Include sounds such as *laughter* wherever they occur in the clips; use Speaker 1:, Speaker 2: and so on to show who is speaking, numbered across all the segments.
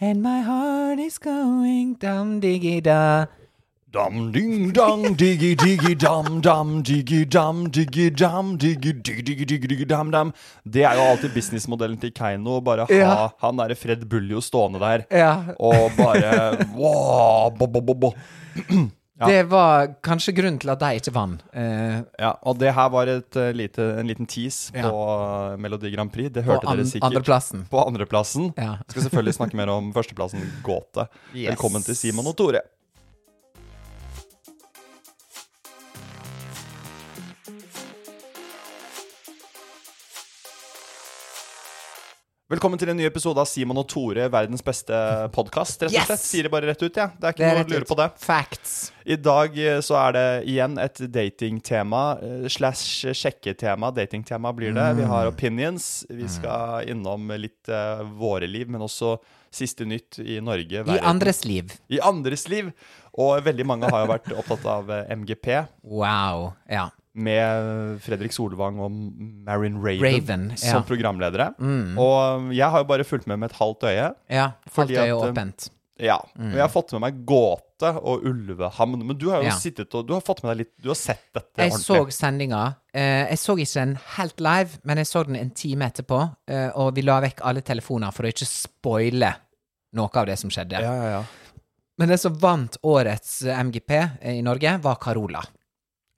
Speaker 1: And my heart is going down diggy da.
Speaker 2: Dam ding dang diggy diggy dam dam diggy dam diggy dam diggy diggy diggy diggy diggy dam dam. Det er jo alltid businessmodellen til Keiino. å Bare ha
Speaker 1: Ja.
Speaker 2: han derre Fred Buljo stående der
Speaker 1: Ja.
Speaker 2: og bare *laughs* wow, bo, bo, bo, bo.
Speaker 1: Det var kanskje grunnen til at de ikke vant. Eh,
Speaker 2: Ja, og det her var et, eh, lite, en liten tease
Speaker 1: Ja.
Speaker 2: på eh, Melodi Grand Prix. Det
Speaker 1: på
Speaker 2: hørte
Speaker 1: an
Speaker 2: dere sikkert.
Speaker 1: andreplassen.
Speaker 2: På andreplassen.
Speaker 1: Ja.
Speaker 2: Vi Skal selvfølgelig snakke mer om førsteplassen Gåte.
Speaker 1: Yes.
Speaker 2: Velkommen til Simon og Tore. Velkommen til en ny episode av Simon og Tore, verdens beste podkast. Rett og
Speaker 1: Yes!
Speaker 2: slett. Sier det bare rett ut, ja. Det er ikke
Speaker 1: Det er
Speaker 2: noe å lure
Speaker 1: rett ut.
Speaker 2: på det.
Speaker 1: Facts.
Speaker 2: I dag eh, så er det igjen et datingtema eh, slash sjekketema. Datingtema blir det. Vi
Speaker 1: Mm.
Speaker 2: har opinions. Vi skal innom litt eh, våre liv, men også siste nytt i Norge.
Speaker 1: I
Speaker 2: verden.
Speaker 1: andres liv.
Speaker 2: I andres liv. Og veldig mange har jo
Speaker 1: *laughs*
Speaker 2: vært opptatt av eh, MGP
Speaker 1: Wow. Ja.
Speaker 2: med Fredrik Solvang og Marin Raven,
Speaker 1: Raven, ja. Mm.
Speaker 2: som programledere. Og eh, jeg har jo bare fulgt med med et halvt øye.
Speaker 1: ja
Speaker 2: Fordi
Speaker 1: alt er jo
Speaker 2: at, eh,
Speaker 1: åpent.
Speaker 2: Ja. Og jeg har fått med meg Gåte og Ulvehamn. Men du har jo
Speaker 1: Mm. Ja.
Speaker 2: sittet og Du har fått med deg litt Du har sett dette
Speaker 1: Jeg så sendinga. Eh, jeg så ikke den helt live, men jeg så den en time etterpå, eh, og vi la vekk alle telefoner for å ikke spoile noe av det som skjedde.
Speaker 2: Ja, ja, ja.
Speaker 1: Men det som vant årets eh, MGP i Norge, var Carola.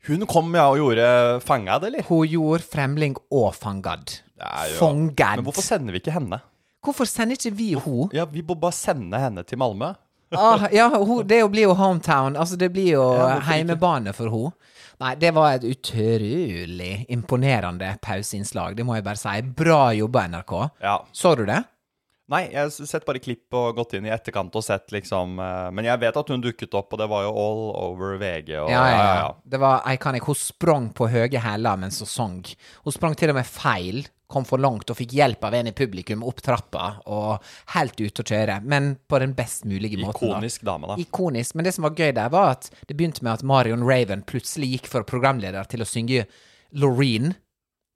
Speaker 2: Hun kom ja og gjorde fanga det, eller?
Speaker 1: Hun gjorde Fremling og Fangad.
Speaker 2: Ja, ja.
Speaker 1: Fangad.
Speaker 2: Men hvorfor sender vi ikke henne?
Speaker 1: Hvorfor sender ikke vi henne?
Speaker 2: Ja, Vi må bare sende henne til Malmö.
Speaker 1: Ah, ja, hun, det blir jo hometown. Altså, det blir jo
Speaker 2: Ja, hvorfor
Speaker 1: heimebane for henne. Nei, det var et utrolig imponerende pauseinnslag, det må jeg bare si. Bra jobba, NRK.
Speaker 2: Ja.
Speaker 1: Så du det?
Speaker 2: Nei, jeg har sett bare klipp og gått inn i etterkant og sett, liksom. eh, Men jeg vet at hun dukket opp, og det var jo all over VG og
Speaker 1: Ja, ja, ja. Det var iconic. Hun sprang på høye hæler mens hun sang. Hun sprang til og med feil, kom for langt og fikk hjelp av en i publikum opp trappa og helt ute å kjøre, men på den best mulige måten. da.
Speaker 2: Ikonisk dame, da.
Speaker 1: Ikonisk. Men det som var gøy der, var at det begynte med at Marion Raven plutselig gikk fra programleder til å synge Loreen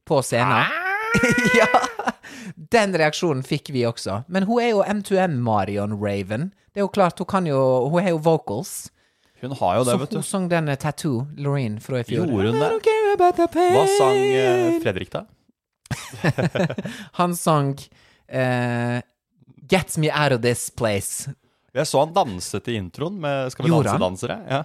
Speaker 1: på scenen.
Speaker 2: Ah!
Speaker 1: *laughs* ja! Den reaksjonen fikk vi også. Men hun er jo M2M-Marion Raven. Det er jo klart, hun kan jo Hun har jo vocals.
Speaker 2: Hun har jo det,
Speaker 1: Så
Speaker 2: vet
Speaker 1: hun
Speaker 2: du.
Speaker 1: sang den eh, Tattoo, Loreen, fra i fjor.
Speaker 2: Gjorde hun
Speaker 1: I
Speaker 2: det?
Speaker 1: don't care about the pain.
Speaker 2: Hva sang eh, Fredrik, da?
Speaker 1: Han sang eh, Get me out of this place.
Speaker 2: Jeg så han danset i introen med Skal vi
Speaker 1: Gjorde han?
Speaker 2: danse-dansere. Ja.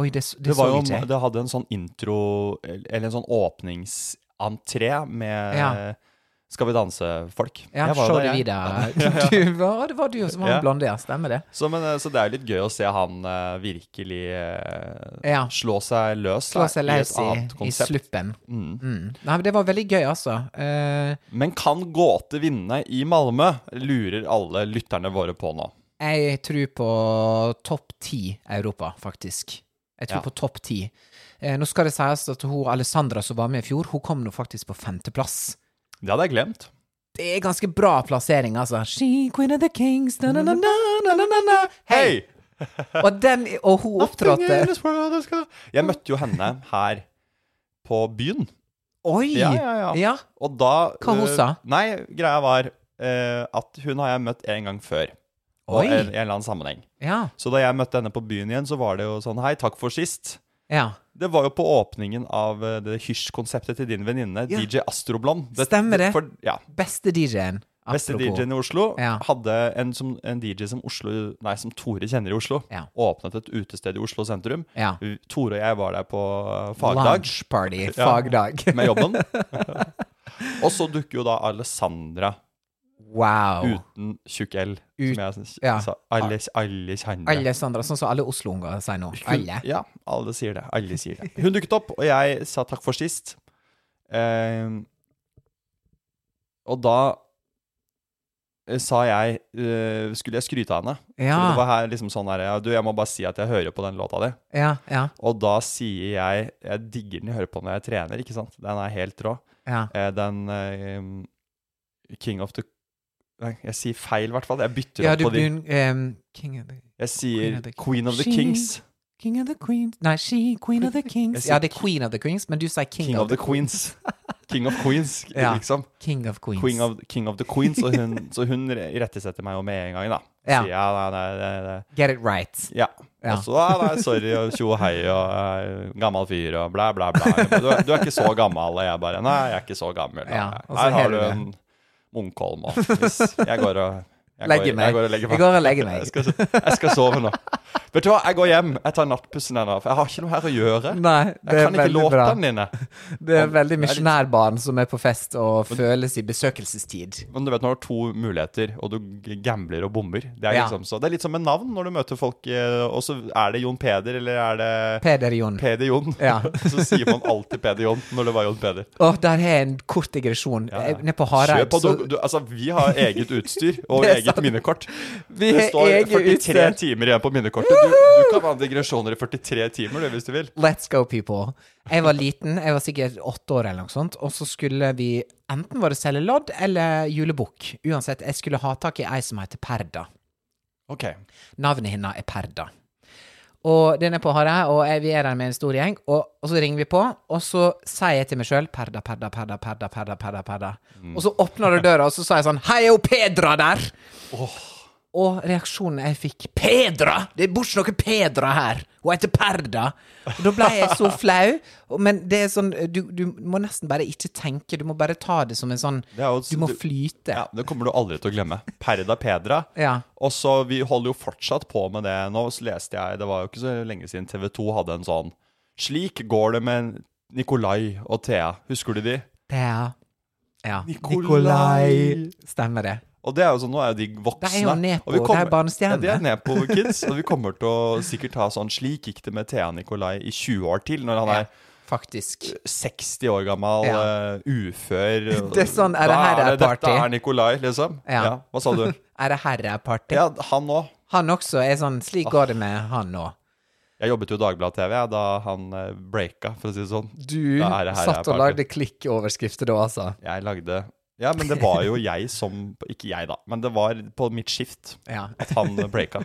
Speaker 1: Oi, det, s- det,
Speaker 2: Det,
Speaker 1: så
Speaker 2: var jo,
Speaker 1: ikke jeg.
Speaker 2: det hadde en sånn intro, eller en sånn åpningsentré med
Speaker 1: Ja.
Speaker 2: Skal vi danse-folk.
Speaker 1: Ja,
Speaker 2: Jeg var jo
Speaker 1: show
Speaker 2: der,
Speaker 1: det
Speaker 2: jeg.
Speaker 1: videre. *laughs* Du, var- det var du som var
Speaker 2: Ja.
Speaker 1: han blonde, ja. Stemmer det.
Speaker 2: Så, men, eh, så det er jo litt gøy å se han eh, virkelig eh,
Speaker 1: Ja.
Speaker 2: slå seg løs
Speaker 1: Slå seg
Speaker 2: da,
Speaker 1: løs
Speaker 2: i et
Speaker 1: i,
Speaker 2: annet
Speaker 1: i
Speaker 2: konsept.
Speaker 1: sluppen. Mm. Nei, men det var veldig gøy, altså. Eh,
Speaker 2: men kan Gåte vinne i Malmö, lurer alle lytterne våre på nå.
Speaker 1: jeg tror på topp ti Europa, faktisk. Jeg tror
Speaker 2: Ja.
Speaker 1: på topp ti. Eh, nå skal det sies at hun Alessandra som var med i fjor, hun kom nå faktisk på femteplass.
Speaker 2: Det hadde jeg glemt.
Speaker 1: Det er ganske bra plassering, altså. She queen of the kings, na na na na na na na Hei!
Speaker 2: Hei!
Speaker 1: Og, den, og hun
Speaker 2: Nothing in
Speaker 1: opptrådte
Speaker 2: this world is gonna- Jeg møtte jo henne her på byen.
Speaker 1: Oi!
Speaker 2: Ja, ja, ja.
Speaker 1: ja.
Speaker 2: Og da
Speaker 1: Hva hun
Speaker 2: eh,
Speaker 1: sa?
Speaker 2: Nei, greia var eh, at hun har jeg møtt en gang før. Og
Speaker 1: Oi.
Speaker 2: en, en eller annen sammenheng.
Speaker 1: ja.
Speaker 2: Så da jeg møtte henne på byen igjen, så var det jo sånn Hei, takk for sist.
Speaker 1: ja.
Speaker 2: Det var jo på åpningen av eh, det hysj-konseptet til din venninne,
Speaker 1: Ja.
Speaker 2: DJ Astroblond.
Speaker 1: Stemmer det.
Speaker 2: For, ja,
Speaker 1: Beste DJ-en.
Speaker 2: Beste
Speaker 1: apropos.
Speaker 2: DJ-en i Oslo
Speaker 1: Ja.
Speaker 2: hadde en, som, en DJ som, Oslo, nei, som Tore kjenner i Oslo,
Speaker 1: Ja.
Speaker 2: åpnet et utested i Oslo sentrum.
Speaker 1: Ja.
Speaker 2: Tore og jeg var der på eh, fagdag
Speaker 1: Lunch party,
Speaker 2: Ja.
Speaker 1: fagdag.
Speaker 2: med jobben. *laughs* og så dukker jo da Alessandra
Speaker 1: Wow.
Speaker 2: uten tjukk L,
Speaker 1: Ut-
Speaker 2: som jeg s-
Speaker 1: ja.
Speaker 2: sa. Alle, alle kjenner.
Speaker 1: Alle Sandra, sånn som alle Oslo-unger sier nå.
Speaker 2: Hun-
Speaker 1: Alle.
Speaker 2: Ja, alle sier det. Alle sier det. Hun dukket opp, og jeg sa takk for Ehm, sist. Eh, og da eh, sa jeg eh, Skulle jeg skryte av henne? For det
Speaker 1: Ja,
Speaker 2: var her liksom sånn her, ja, du, jeg må bare si at jeg hører på den låta di.
Speaker 1: ja, ja.
Speaker 2: Og da sier jeg Jeg digger den jeg hører på når jeg trener, ikke sant? Den er helt rå.
Speaker 1: ja.
Speaker 2: Eh, Den eh, King of the Nei, jeg sier feil, i hvert fall. Jeg bytter
Speaker 1: ja
Speaker 2: opp
Speaker 1: du
Speaker 2: på de.
Speaker 1: begynner ehm, King of the
Speaker 2: Jeg sier
Speaker 1: Queen of the-
Speaker 2: Queen of the
Speaker 1: She-
Speaker 2: Kings.
Speaker 1: King of the Queens Nei, she, Queen of the Kings.
Speaker 2: sier
Speaker 1: Ja, det er Queen of the Queens, men du sier King,
Speaker 2: King of the Queens. King of Queens,
Speaker 1: *laughs* Ja.
Speaker 2: liksom.
Speaker 1: King of Queens.
Speaker 2: Queen of, King of the Queens. Og hun, så hun rettesetter meg jo med en gang, da.
Speaker 1: Ja.
Speaker 2: Sier jeg, nei, nei, nei, nei.
Speaker 1: Get it right.
Speaker 2: Ja.
Speaker 1: Ja.
Speaker 2: Og så ah, nei, sorry og tjo og hei og eh, gammel fyr og bla, bla, bla. Du, er- du er ikke så gammel. Og jeg bare Nei, jeg er ikke så gammel. Da.
Speaker 1: Ja, og så
Speaker 2: Her har
Speaker 1: hever
Speaker 2: du
Speaker 1: du.
Speaker 2: en Munkholm og hvis Jeg går og jeg
Speaker 1: Legger
Speaker 2: går,
Speaker 1: meg.
Speaker 2: Jeg går og legger meg.
Speaker 1: Jeg går og legger meg.
Speaker 2: Jeg skal, jeg skal sove nå. Vet du hva, jeg går hjem. Jeg tar nattpussen her nå, for jeg har ikke noe her å gjøre.
Speaker 1: Nei, det
Speaker 2: Jeg
Speaker 1: er
Speaker 2: kan ikke
Speaker 1: veldig bra.
Speaker 2: låtene dine.
Speaker 1: Det er veldig
Speaker 2: litt-
Speaker 1: misjonærbarn som er på fest og føles i besøkelsestid.
Speaker 2: Men du vet, nå har du to muligheter, og du gambler og bomber. Det er,
Speaker 1: Ja.
Speaker 2: liksom så, det er litt som med navn når du møter folk, eh, og så er det Jon Peder, eller er det
Speaker 1: Peder Jon. Å,
Speaker 2: Peder Jon.
Speaker 1: Ja.
Speaker 2: *laughs* så sier man alltid Peder Jon når det var Jon Peder.
Speaker 1: der har jeg en kort digresjon.
Speaker 2: Ja, ja.
Speaker 1: Eh, Nede på Hareid
Speaker 2: Kjøp, og
Speaker 1: så
Speaker 2: du, du, altså, vi har eget utstyr
Speaker 1: *laughs*
Speaker 2: og
Speaker 1: Det er
Speaker 2: eget
Speaker 1: sant.
Speaker 2: minnekort.
Speaker 1: Vi
Speaker 2: Det
Speaker 1: har
Speaker 2: står
Speaker 1: eget
Speaker 2: 43
Speaker 1: utstyr.
Speaker 2: timer igjen på minnekortet. Du, du kan ha digresjoner i 43 timer du, hvis du vil.
Speaker 1: Let's go, people. Jeg var liten, jeg var sikkert åtte år eller noe sånt, og så skulle vi Enten var det selge lodd eller julebukk. Uansett, jeg skulle ha tak i ei som heter Perda.
Speaker 2: Ok.
Speaker 1: Navnet hennes er Perda. Og den er på Hareid, og jeg, vi er der med en stor gjeng. Og, og så ringer vi på, og så sier jeg til meg sjøl Perda, Perda, Perda, Perda, Perda. Perda, Perda.
Speaker 2: Mm.
Speaker 1: Og så åpner du døra, og så sa jeg sånn Hei, og Pedra der! Og reaksjonen jeg fikk Pedra! Det er bortsett noe Pedra her! Hun heter Perda! Og da ble jeg så flau. og- Men det er sånn du, du må nesten bare ikke tenke, du må bare ta det som en sånn
Speaker 2: Det er jo-
Speaker 1: Du må
Speaker 2: du-
Speaker 1: flyte.
Speaker 2: Ja, Det kommer du aldri til å glemme. Perda Pedra.
Speaker 1: Ja.
Speaker 2: Og så Vi holder jo fortsatt på med det nå. Så leste jeg, Det var jo ikke så lenge siden TV 2 hadde en sånn Slik går det med Nikolai og Thea. Husker du de?
Speaker 1: Ja. ja.
Speaker 2: Nikolai.
Speaker 1: Stemmer det.
Speaker 2: Og det er jo sånn, nå er jo de voksne.
Speaker 1: Det er jo nedpå,
Speaker 2: og vi kommer-
Speaker 1: det er barnestjerne.
Speaker 2: Ja, det er nedpå kids, og vi kommer til å sikkert ha sånn Slik gikk det med Thea Nikolai i 20 år til, når han
Speaker 1: Ja,
Speaker 2: er
Speaker 1: faktisk.
Speaker 2: 60 år gammel,
Speaker 1: Ja.
Speaker 2: eh, ufør.
Speaker 1: *laughs*
Speaker 2: og-
Speaker 1: Det er sånn, er det
Speaker 2: Da
Speaker 1: her det er
Speaker 2: Dette
Speaker 1: party?
Speaker 2: er Nikolai, liksom.
Speaker 1: Ja.
Speaker 2: Hva
Speaker 1: *laughs*
Speaker 2: sa du?
Speaker 1: Er det herreparty?
Speaker 2: Ja, han òg.
Speaker 1: Han også er sånn Slik går det med han nå.
Speaker 2: Jeg jobbet jo i Dagbladet TV jeg, da han eh, breaka, for å si det sånn.
Speaker 1: Du
Speaker 2: Ja, er det herreparty?
Speaker 1: satt og lagde klikkoverskrifter da, altså.
Speaker 2: Jeg lagde Ja, men det var jo jeg som Ikke jeg, da, men det var på mitt skift
Speaker 1: *laughs* Ja.
Speaker 2: at han breaka.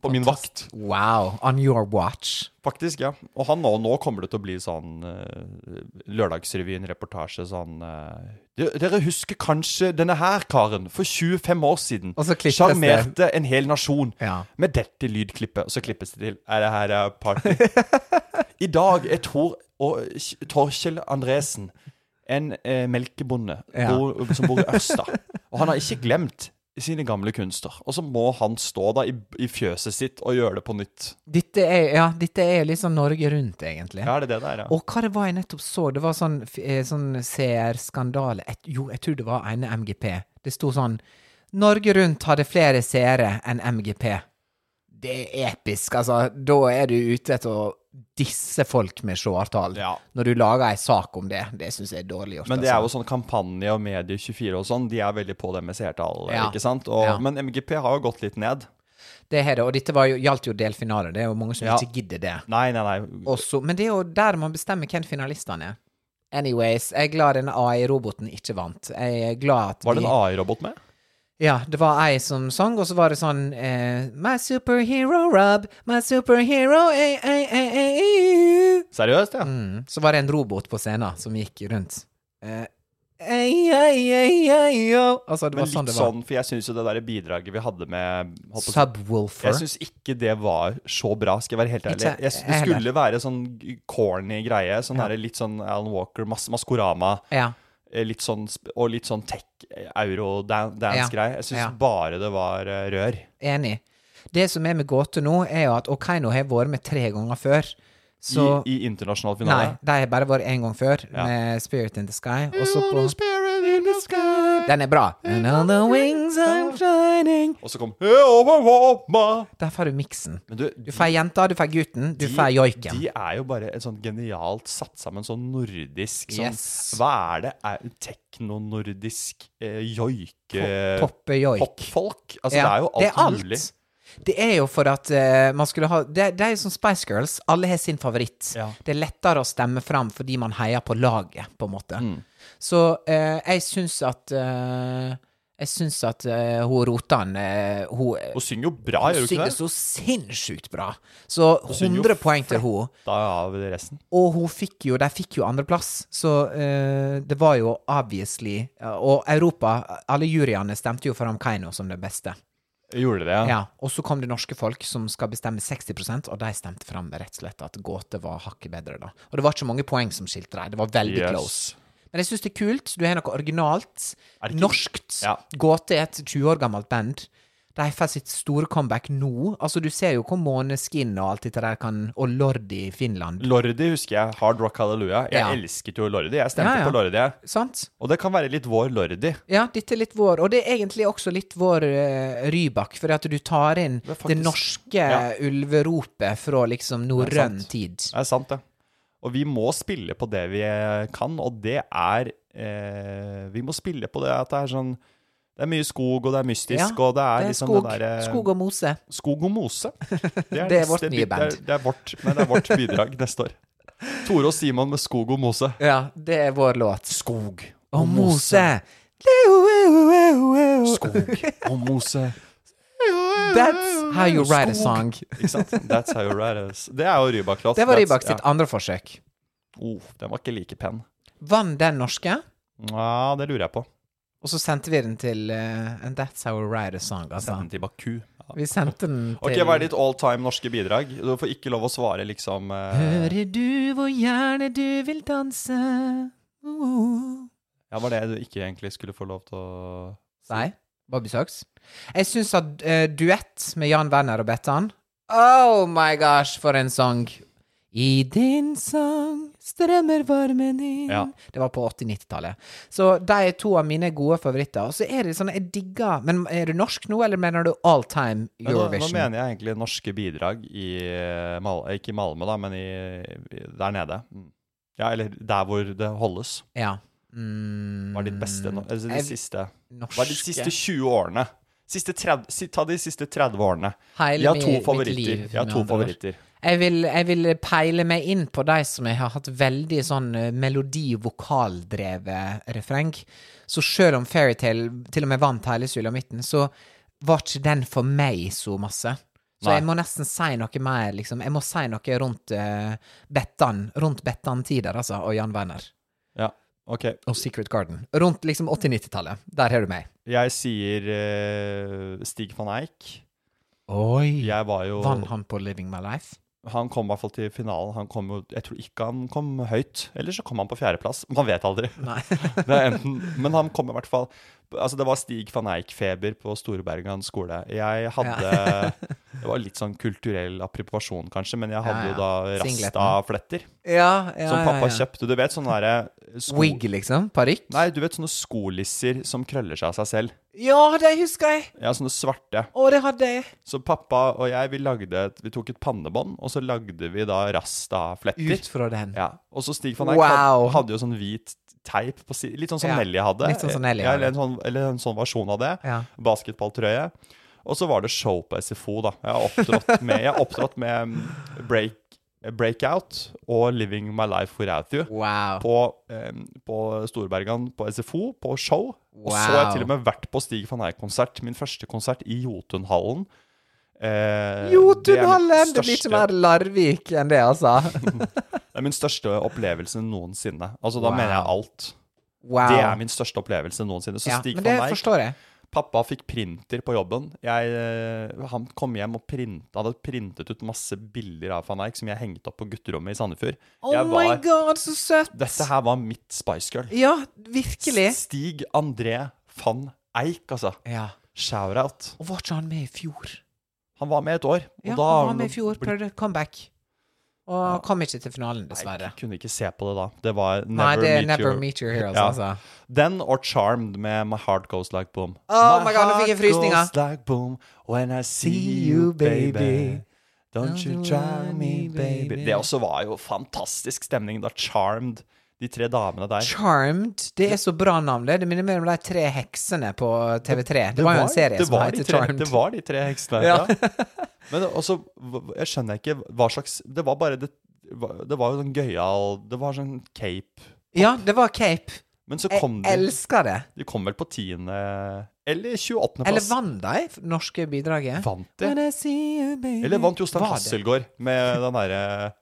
Speaker 2: På min vakt.
Speaker 1: Wow. On your watch.
Speaker 2: Faktisk, ja. Og han nå, nå kommer det til å bli sånn eh, Lørdagsrevyen-reportasje sånn eh, «Dere- Dere husker kanskje denne her karen for 25 år siden.
Speaker 1: Og så klippes det.
Speaker 2: Sjarmerte en hel nasjon
Speaker 1: Ja.
Speaker 2: med dette lydklippet. Og så klippes det til. Er det her eh,
Speaker 1: *laughs*
Speaker 2: party? I dag er Tor og Kj- Torkjell Andresen en eh, melkebonde
Speaker 1: Ja.
Speaker 2: bor, som bor i Ørsta. Og han har ikke glemt sine gamle kunster. Og så må han stå da i, i fjøset sitt og gjøre det på nytt.
Speaker 1: Dette er, ja, dette er litt sånn Norge Rundt, egentlig.
Speaker 2: Ja, er det det der, ja?
Speaker 1: Og hva det var jeg nettopp så? Det var sånn, f- eh, sånn seerskandale Et- Jo, jeg tror det var ene MGP. Det sto sånn Norge Rundt hadde flere seere enn MGP. Det er episk, altså. Da er du ute etter å disse folk med seertall.
Speaker 2: Ja.
Speaker 1: Når du lager ei sak om det. Det syns jeg er dårlig gjort.
Speaker 2: Men det er jo
Speaker 1: altså.
Speaker 2: sånn kampanje og Medie24 og sånn, de er veldig på det med seertall,
Speaker 1: Ja.
Speaker 2: ikke sant? Og,
Speaker 1: Ja.
Speaker 2: Men MGP har jo gått litt ned.
Speaker 1: Det er det, og dette var jo, gjaldt jo delfinale. Det er jo mange som
Speaker 2: Ja.
Speaker 1: ikke gidder det.
Speaker 2: Nei, nei, nei.
Speaker 1: Også, men det er jo der man bestemmer hvem finalistene er. Anyways, jeg er glad den AI-roboten ikke vant. Jeg er glad at
Speaker 2: Var det
Speaker 1: vi-
Speaker 2: en AI-robot med?
Speaker 1: Ja, det var ei som sang, og så var det sånn eh, My superhero Rob, my superhero eh, ei, ei, ei, ei, ei.
Speaker 2: Seriøst, ja?
Speaker 1: eh." Mm. Så var det en robot på scenen som gikk rundt. Eh, ei, ei, ei, ei, jo. Altså, det
Speaker 2: Men
Speaker 1: var sånn
Speaker 2: litt
Speaker 1: det var.
Speaker 2: sånn, for jeg syns jo det der bidraget vi hadde med holdt på å si-
Speaker 1: Subwoolfer.
Speaker 2: Jeg syns ikke det var så bra, skal jeg være helt ærlig.
Speaker 1: Ikke-
Speaker 2: Jeg, det
Speaker 1: jeg heller.
Speaker 2: skulle være sånn corny greie. Sånn der, litt sånn Alan Walker, mas Maskorama,
Speaker 1: Ja.
Speaker 2: eh, litt sånn, sp- og litt sånn
Speaker 1: Ja.
Speaker 2: tech-euro-dance-greie. Jeg syns
Speaker 1: Ja.
Speaker 2: bare det var eh, rør.
Speaker 1: Enig. Det som er med gåte nå, er jo at Okaino har vært med tre ganger før. Så
Speaker 2: I, I internasjonal
Speaker 1: Nei,
Speaker 2: finale.
Speaker 1: de har bare vært én gang før,
Speaker 2: Ja.
Speaker 1: med Spirit in the Sky. Og så på
Speaker 2: spirit in the sky
Speaker 1: Den er bra.
Speaker 2: Mm.
Speaker 1: And on the wings I'm shining
Speaker 2: Og så kom Men
Speaker 1: Der får du miksen.
Speaker 2: du,
Speaker 1: Du får jenta, du får gutten, du
Speaker 2: de-
Speaker 1: får joiken.
Speaker 2: De er jo bare et sånn genialt satt sammen sånn nordisk sånn,
Speaker 1: Yes.
Speaker 2: Hva er det? Er Teknonordisk eh, joike...
Speaker 1: Poppe joik.
Speaker 2: Popfolk. Altså,
Speaker 1: Ja,
Speaker 2: det er jo alt, mulig.
Speaker 1: Det er jo for at eh, man skulle ha det, det er jo som Spice Girls. Alle har sin favoritt.
Speaker 2: Ja.
Speaker 1: Det er lettere å stemme fram fordi man heier på laget, på en måte.
Speaker 2: Mm.
Speaker 1: Så eh, jeg syns at eh, Jeg syns at eh, hun Rotan eh, Hun,
Speaker 2: Og synger jo bra,
Speaker 1: hun
Speaker 2: gjør du ikke
Speaker 1: synger
Speaker 2: det?
Speaker 1: så sinnssykt bra. Så
Speaker 2: synger jo
Speaker 1: 100 poeng til henne.
Speaker 2: Da av resten.
Speaker 1: Og hun fikk jo, de fikk jo andreplass, så eh, det var jo obviously ja, Og Europa, alle juryene stemte jo for Amkaino som det beste.
Speaker 2: Gjorde det, ja.
Speaker 1: Ja, Og så kom det norske folk som skal bestemme 60 og de stemte fram rett og slett at Gåte var hakket bedre, da. Og det var ikke mange poeng som skilte dem, det var veldig
Speaker 2: Yes.
Speaker 1: close. Men jeg syns det er kult. Du har noe originalt.
Speaker 2: Er det ikke-
Speaker 1: Norskt.
Speaker 2: Ja.
Speaker 1: Gåte er et 20 år gammelt band. De får sitt store comeback nå. Altså, du ser jo hvor Måneskin og alt dette der kan Og Lordi i Finland.
Speaker 2: Lordi husker jeg. Hard Rock Hallelujah. Jeg
Speaker 1: Ja.
Speaker 2: elsket jo Lordi. Jeg stemte
Speaker 1: Ja, ja.
Speaker 2: på Lordi. jeg.
Speaker 1: Sant?
Speaker 2: Og det kan være litt vår Lordi.
Speaker 1: Ja, dette er litt vår, og det er egentlig også litt vår eh, Rybak, fordi at du tar inn det,
Speaker 2: er faktisk-
Speaker 1: norske
Speaker 2: Ja.
Speaker 1: ulveropet fra liksom
Speaker 2: Det er
Speaker 1: norrøn
Speaker 2: sant.
Speaker 1: tid.
Speaker 2: Det er sant, det. Og vi må spille på det vi kan, og det er eh, Vi må spille på det at det er sånn Det er mye skog, og det er mystisk,
Speaker 1: Ja,
Speaker 2: og det er,
Speaker 1: Det er
Speaker 2: liksom
Speaker 1: skog,
Speaker 2: det derre
Speaker 1: skog og mose.
Speaker 2: Skog
Speaker 1: *laughs*
Speaker 2: og mose. Det
Speaker 1: er
Speaker 2: neste
Speaker 1: vårt nye
Speaker 2: bit-
Speaker 1: band.
Speaker 2: Det er, det, er vårt, men det er vårt bidrag neste år. Tore og Simon med Skog og mose.
Speaker 1: Ja, det er vår låt.
Speaker 2: Skog
Speaker 1: Og mose. Skog.
Speaker 2: Skog og mose.
Speaker 1: That's how you write a
Speaker 2: Skog.
Speaker 1: song.
Speaker 2: Ikke sant? *laughs* That's how you write us. Det er jo Rybak-låt.
Speaker 1: Det var
Speaker 2: That's-
Speaker 1: Rybak sitt andre forsøk.
Speaker 2: Ja. Oh, den var ikke like pen.
Speaker 1: Vann den norske,
Speaker 2: Nja, det lurer jeg på.
Speaker 1: og så sendte vi den til eh, And That's How We Write A Song, altså.
Speaker 2: Den til Baku. Ja.
Speaker 1: Vi sendte den til
Speaker 2: Ok, hva er ditt all time norske bidrag? Du får ikke lov å svare, liksom eh,
Speaker 1: Hører du hvor gjerne du vil danse? Uh.
Speaker 2: Ja, var det du ikke egentlig skulle få lov til å
Speaker 1: Nei. Bobby Socks. Jeg syns at eh, duett med Jan Werner og Bettan Oh my gosh, for en sang! I din sang strømmer varmen inn
Speaker 2: Ja.
Speaker 1: Det var på 80-90-tallet. Så de er to av mine gode favoritter. Og så er det sånn jeg digger Men er du norsk nå, eller mener du all time
Speaker 2: Men nå, nå
Speaker 1: Eurovision?
Speaker 2: mener jeg egentlig norske bidrag i eh, Mal eh, Ikke i Malmö, da, men i, i, der nede. Mm. Ja, eller der hvor det holdes.
Speaker 1: Ja. Mm,
Speaker 2: Hva er ditt beste no altså, de
Speaker 1: jeg-
Speaker 2: siste, Hva er de siste
Speaker 1: norske
Speaker 2: 20 årene? Siste 30, si- ta de siste 30 årene.
Speaker 1: Hele
Speaker 2: Jeg har
Speaker 1: mi-
Speaker 2: to
Speaker 1: mitt
Speaker 2: favoritter.
Speaker 1: liv,
Speaker 2: Jeg har
Speaker 1: med andre
Speaker 2: to
Speaker 1: ord.
Speaker 2: favoritter.
Speaker 1: Jeg vil, jeg vil peile meg inn på de som jeg har hatt veldig sånn eh, melodi-vokaldrevet refreng. Så sjøl om Fairytale til og med vant hele sulamitten, så var ikke den for meg så masse. Så
Speaker 2: Nei.
Speaker 1: jeg må nesten si noe mer, liksom. Jeg må si noe rundt eh, Bettan, rundt Bettan-tider, altså, og Jan Werner.
Speaker 2: Ja, ok.
Speaker 1: Og Secret Garden. Rundt liksom 80-90-tallet. Der har du meg.
Speaker 2: Jeg sier eh, Stig van Eijk.
Speaker 1: Oi!
Speaker 2: Jeg var jo
Speaker 1: Vant han på Living My Life?
Speaker 2: Han kom i hvert fall til finalen. Han kom jo, jeg tror ikke han kom høyt. Eller så kom han på fjerdeplass. Man vet aldri. *laughs*
Speaker 1: Nei.
Speaker 2: Det er enten, men han kom i hvert fall Altså, det var Stig van Eijk-feber på Storbergan skole. Jeg hadde *laughs* Det var litt sånn kulturell appropriasjon, kanskje, men jeg
Speaker 1: Ja, ja.
Speaker 2: hadde jo da
Speaker 1: Singleten.
Speaker 2: rastafletter
Speaker 1: *laughs* Ja, ja,
Speaker 2: som pappa
Speaker 1: ja, ja.
Speaker 2: kjøpte. Du vet sånne derre sko...
Speaker 1: Wig, liksom? Parykk?
Speaker 2: Nei, du vet sånne skolisser som krøller seg av seg selv.
Speaker 1: Ja, det husker jeg!
Speaker 2: Ja, sånne svarte.
Speaker 1: Å, det hadde jeg.
Speaker 2: Så pappa og jeg, vi lagde et, Vi tok et pannebånd, og så lagde vi da rastafletter.
Speaker 1: Ut fra den.
Speaker 2: Ja. Og så Stig van Eyck
Speaker 1: Wow.
Speaker 2: hadde, hadde jo sånn hvit teip på si Litt sånn som
Speaker 1: Ja,
Speaker 2: Nelly hadde.
Speaker 1: litt sånn som Nelly
Speaker 2: ja,
Speaker 1: hadde.
Speaker 2: eller, en sånn, eller en sånn versjon av det.
Speaker 1: Ja.
Speaker 2: Basketballtrøye. Og så var det show på SFO, da. Jeg har opptrådt med, jeg har opptrådt med mm, break, Breakout og Living My Life Without You.
Speaker 1: Wow.
Speaker 2: På, eh, på Storbergan på SFO, på show. Og så har jeg
Speaker 1: Wow.
Speaker 2: til og med vært på Stig van Eyck-konsert. Min første konsert i Jotunhallen. Eh, det er min
Speaker 1: Jotunhallen! Det blir ikke
Speaker 2: største-
Speaker 1: mer Larvik enn det, altså.
Speaker 2: *laughs* det er min største opplevelse noensinne. Altså, da
Speaker 1: Wow.
Speaker 2: mener jeg alt.
Speaker 1: Wow.
Speaker 2: Det er min største opplevelse noensinne. Så
Speaker 1: ja,
Speaker 2: Stig
Speaker 1: Men
Speaker 2: van
Speaker 1: det
Speaker 2: Eyck
Speaker 1: forstår jeg.
Speaker 2: Pappa fikk printer på jobben. Jeg, eh, han kom hjem og print, hadde printet ut masse bilder av van Eyck som jeg hengte opp på gutterommet i Sandefjord.
Speaker 1: Oh
Speaker 2: jeg
Speaker 1: my god, så søtt!
Speaker 2: Dette her var mitt Spice Girl.
Speaker 1: Ja, virkelig.
Speaker 2: Stig André van Eijk, altså.
Speaker 1: Ja.
Speaker 2: Shout-out.
Speaker 1: Og var ikke han med i fjor?
Speaker 2: Han var med et år. og
Speaker 1: Ja,
Speaker 2: da
Speaker 1: han
Speaker 2: har
Speaker 1: var med i fjor,
Speaker 2: blitt-
Speaker 1: prøvde comeback. og kom ikke til finalen, dessverre.
Speaker 2: Jeg kunne ikke se på det da. Det var Never,
Speaker 1: Nei, det er
Speaker 2: meet,
Speaker 1: Never
Speaker 2: your,
Speaker 1: Meet Your Heroes,
Speaker 2: Ja.
Speaker 1: altså.
Speaker 2: Den og Charmed med My Heart Goes Like Boom.
Speaker 1: Oh my God, nå fikk jeg
Speaker 2: heart
Speaker 1: frysninger.
Speaker 2: goes Like boom when I see you, baby. Don't you drive me, baby. Det også var jo fantastisk stemning da Charmed, de tre damene der.
Speaker 1: Charmed. Det er så bra navn, det. Det minner mer om de tre heksene på TV3. Det var jo en serie
Speaker 2: det
Speaker 1: som
Speaker 2: var de
Speaker 1: heter
Speaker 2: tre-
Speaker 1: Charmed.
Speaker 2: Det var de tre heksene.
Speaker 1: Ja.
Speaker 2: Ja. Men også, hva- jeg skjønner ikke hva slags Det var bare det det var jo sånn gøyal Det var sånn cape.
Speaker 1: Ja, det var Cape.
Speaker 2: Men så
Speaker 1: Jeg
Speaker 2: kom de
Speaker 1: elsker det.
Speaker 2: De kom vel på tiende Eller 28.
Speaker 1: Eller
Speaker 2: plass.
Speaker 1: vant de norske bidraget?
Speaker 2: Vant de?
Speaker 1: When I see you, baby.
Speaker 2: Eller vant Jostein
Speaker 1: Var det?
Speaker 2: Hasselgaard med den derre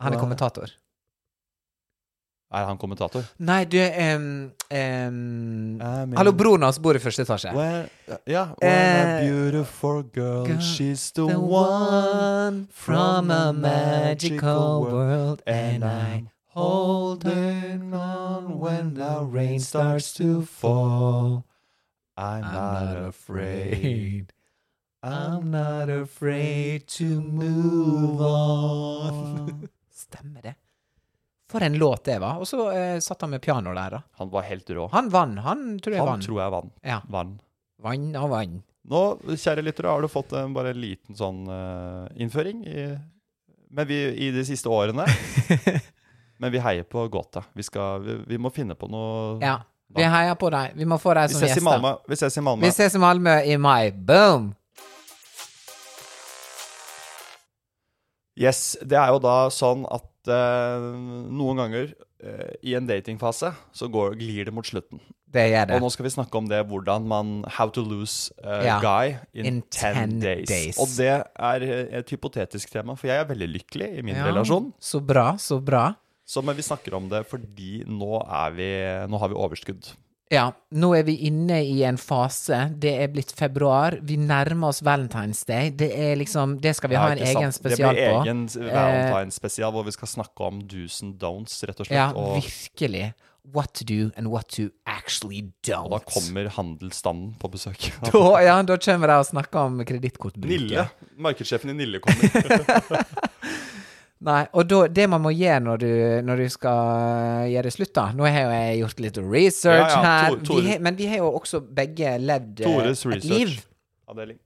Speaker 1: Han er kommentator.
Speaker 2: Er han kommentator? Eh,
Speaker 1: Nei, du em, em, Hallo, broren hans bor i første etasje.
Speaker 2: Where, yeah,
Speaker 1: Eh,
Speaker 2: a beautiful girl,
Speaker 1: girl,
Speaker 2: she's the,
Speaker 1: The
Speaker 2: one
Speaker 1: one from a magical world, and I holding on when the rain starts to fall.
Speaker 2: I'm,
Speaker 1: I'm
Speaker 2: not, afraid.
Speaker 1: I'm
Speaker 2: I'm
Speaker 1: not afraid to move
Speaker 2: move
Speaker 1: on.
Speaker 2: on.
Speaker 1: Stemmer det. For en låt det var. Og så eh, satt han med piano der, da.
Speaker 2: Han var helt rå.
Speaker 1: Han vann. Han tror jeg
Speaker 2: Han
Speaker 1: vann.
Speaker 2: tror jeg vann.
Speaker 1: Ja.
Speaker 2: vann.
Speaker 1: Vann og vann.
Speaker 2: Nå, kjære lyttere, har du fått en bare liten sånn eh, innføring i, men vi, i de siste
Speaker 1: *laughs*
Speaker 2: årene. men vi heier på Gota. Vi, skal, vi, vi må finne på noe
Speaker 1: Ja. Vi heier på deg. Vi må få deg
Speaker 2: Liksom. Vi
Speaker 1: som
Speaker 2: ses
Speaker 1: gjester.
Speaker 2: i Malmö. Vi ses i Malmö.
Speaker 1: Vi ses i Malmö i mai. Boom!
Speaker 2: Yes, det er jo da sånn at eh, noen ganger eh, i en datingfase så går, glir det mot slutten.
Speaker 1: Det gjør det.
Speaker 2: Og nå skal vi snakke om det hvordan man How to lose a
Speaker 1: Ja.
Speaker 2: guy in,
Speaker 1: In 10
Speaker 2: 10 days.
Speaker 1: days.
Speaker 2: Og det er eh, et hypotetisk tema, for jeg er veldig lykkelig i min
Speaker 1: Ja,
Speaker 2: relasjon.
Speaker 1: Så bra, så bra.
Speaker 2: Så, men vi snakker om det fordi nå, er vi, nå har vi overskudd.
Speaker 1: Ja, nå er vi inne i en fase. Det er blitt februar. Vi nærmer oss Valentine's Day. Det er liksom Det skal vi
Speaker 2: Ja,
Speaker 1: ha en
Speaker 2: ikke sant?
Speaker 1: egen spesial
Speaker 2: Det
Speaker 1: på. eh,
Speaker 2: blir egen valentinsspesial hvor vi skal snakke om do's and don'ts, rett og slett.
Speaker 1: Ja,
Speaker 2: og
Speaker 1: virkelig. What to do and what to actually don't.
Speaker 2: da kommer handelsstanden på besøk.
Speaker 1: *laughs* Da- ja, da kommer de og snakker om kredittkortbruk.
Speaker 2: *laughs* Nille. Markedssjefen i
Speaker 1: *laughs*
Speaker 2: Nille kommer.
Speaker 1: Nei, og da, det man må gjøre når du, når du skal gjøre slutt, da Nå har jo jeg gjort litt research
Speaker 2: Ja, ja,
Speaker 1: her,
Speaker 2: Tor- Tore-
Speaker 1: vi har, men vi har jo også begge levd eh,
Speaker 2: Tores
Speaker 1: et liv.
Speaker 2: research-avdeling.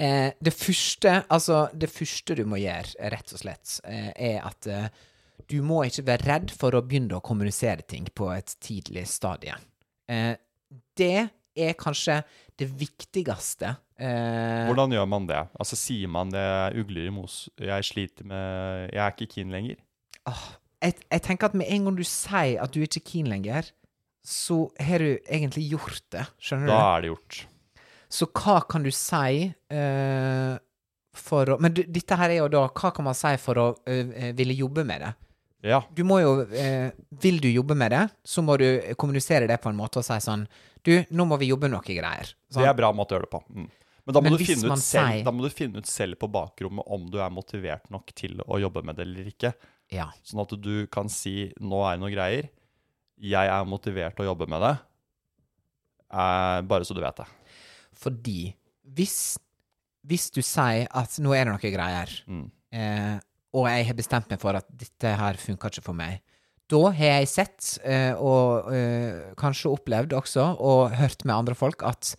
Speaker 1: Eh, det første Altså, det første du må gjøre, rett og slett, eh, er at eh, du må ikke være redd for å begynne å kommunisere ting på et tidlig stadie. Eh, det er kanskje det viktigste. Eh,
Speaker 2: Hvordan gjør man det? Altså Sier man det ugler i mos, jeg sliter med Jeg er ikke keen lenger?
Speaker 1: Åh, jeg, jeg tenker at med en gang du sier at du ikke er keen lenger, så har du egentlig gjort det. Skjønner
Speaker 2: Da er det gjort.
Speaker 1: du? Så hva kan du si eh, for å Men du, dette her er jo da Hva kan man si for å eh, ville jobbe med det?
Speaker 2: Ja.
Speaker 1: Du må jo eh, Vil du jobbe med det, så må du kommunisere det på en måte og si sånn Du, nå må vi jobbe noe greier.
Speaker 2: Det
Speaker 1: Sånn.
Speaker 2: er bra måte å gjøre det på. Mm. Men, da må,
Speaker 1: Men
Speaker 2: du
Speaker 1: hvis
Speaker 2: finne
Speaker 1: man
Speaker 2: ut selv,
Speaker 1: sier-
Speaker 2: da må du finne ut selv på bakrommet om du er motivert nok til å jobbe med det eller ikke.
Speaker 1: Ja.
Speaker 2: Sånn at du kan si 'nå er det noen greier', 'jeg er motivert til å jobbe med det'. Eh, bare så du vet det.
Speaker 1: Fordi hvis, hvis du sier at nå er det noe greier,
Speaker 2: Mm.
Speaker 1: eh, og jeg har bestemt meg for at dette her funker ikke for meg, da har jeg sett, eh, og eh, kanskje opplevd også, og hørt med andre folk, at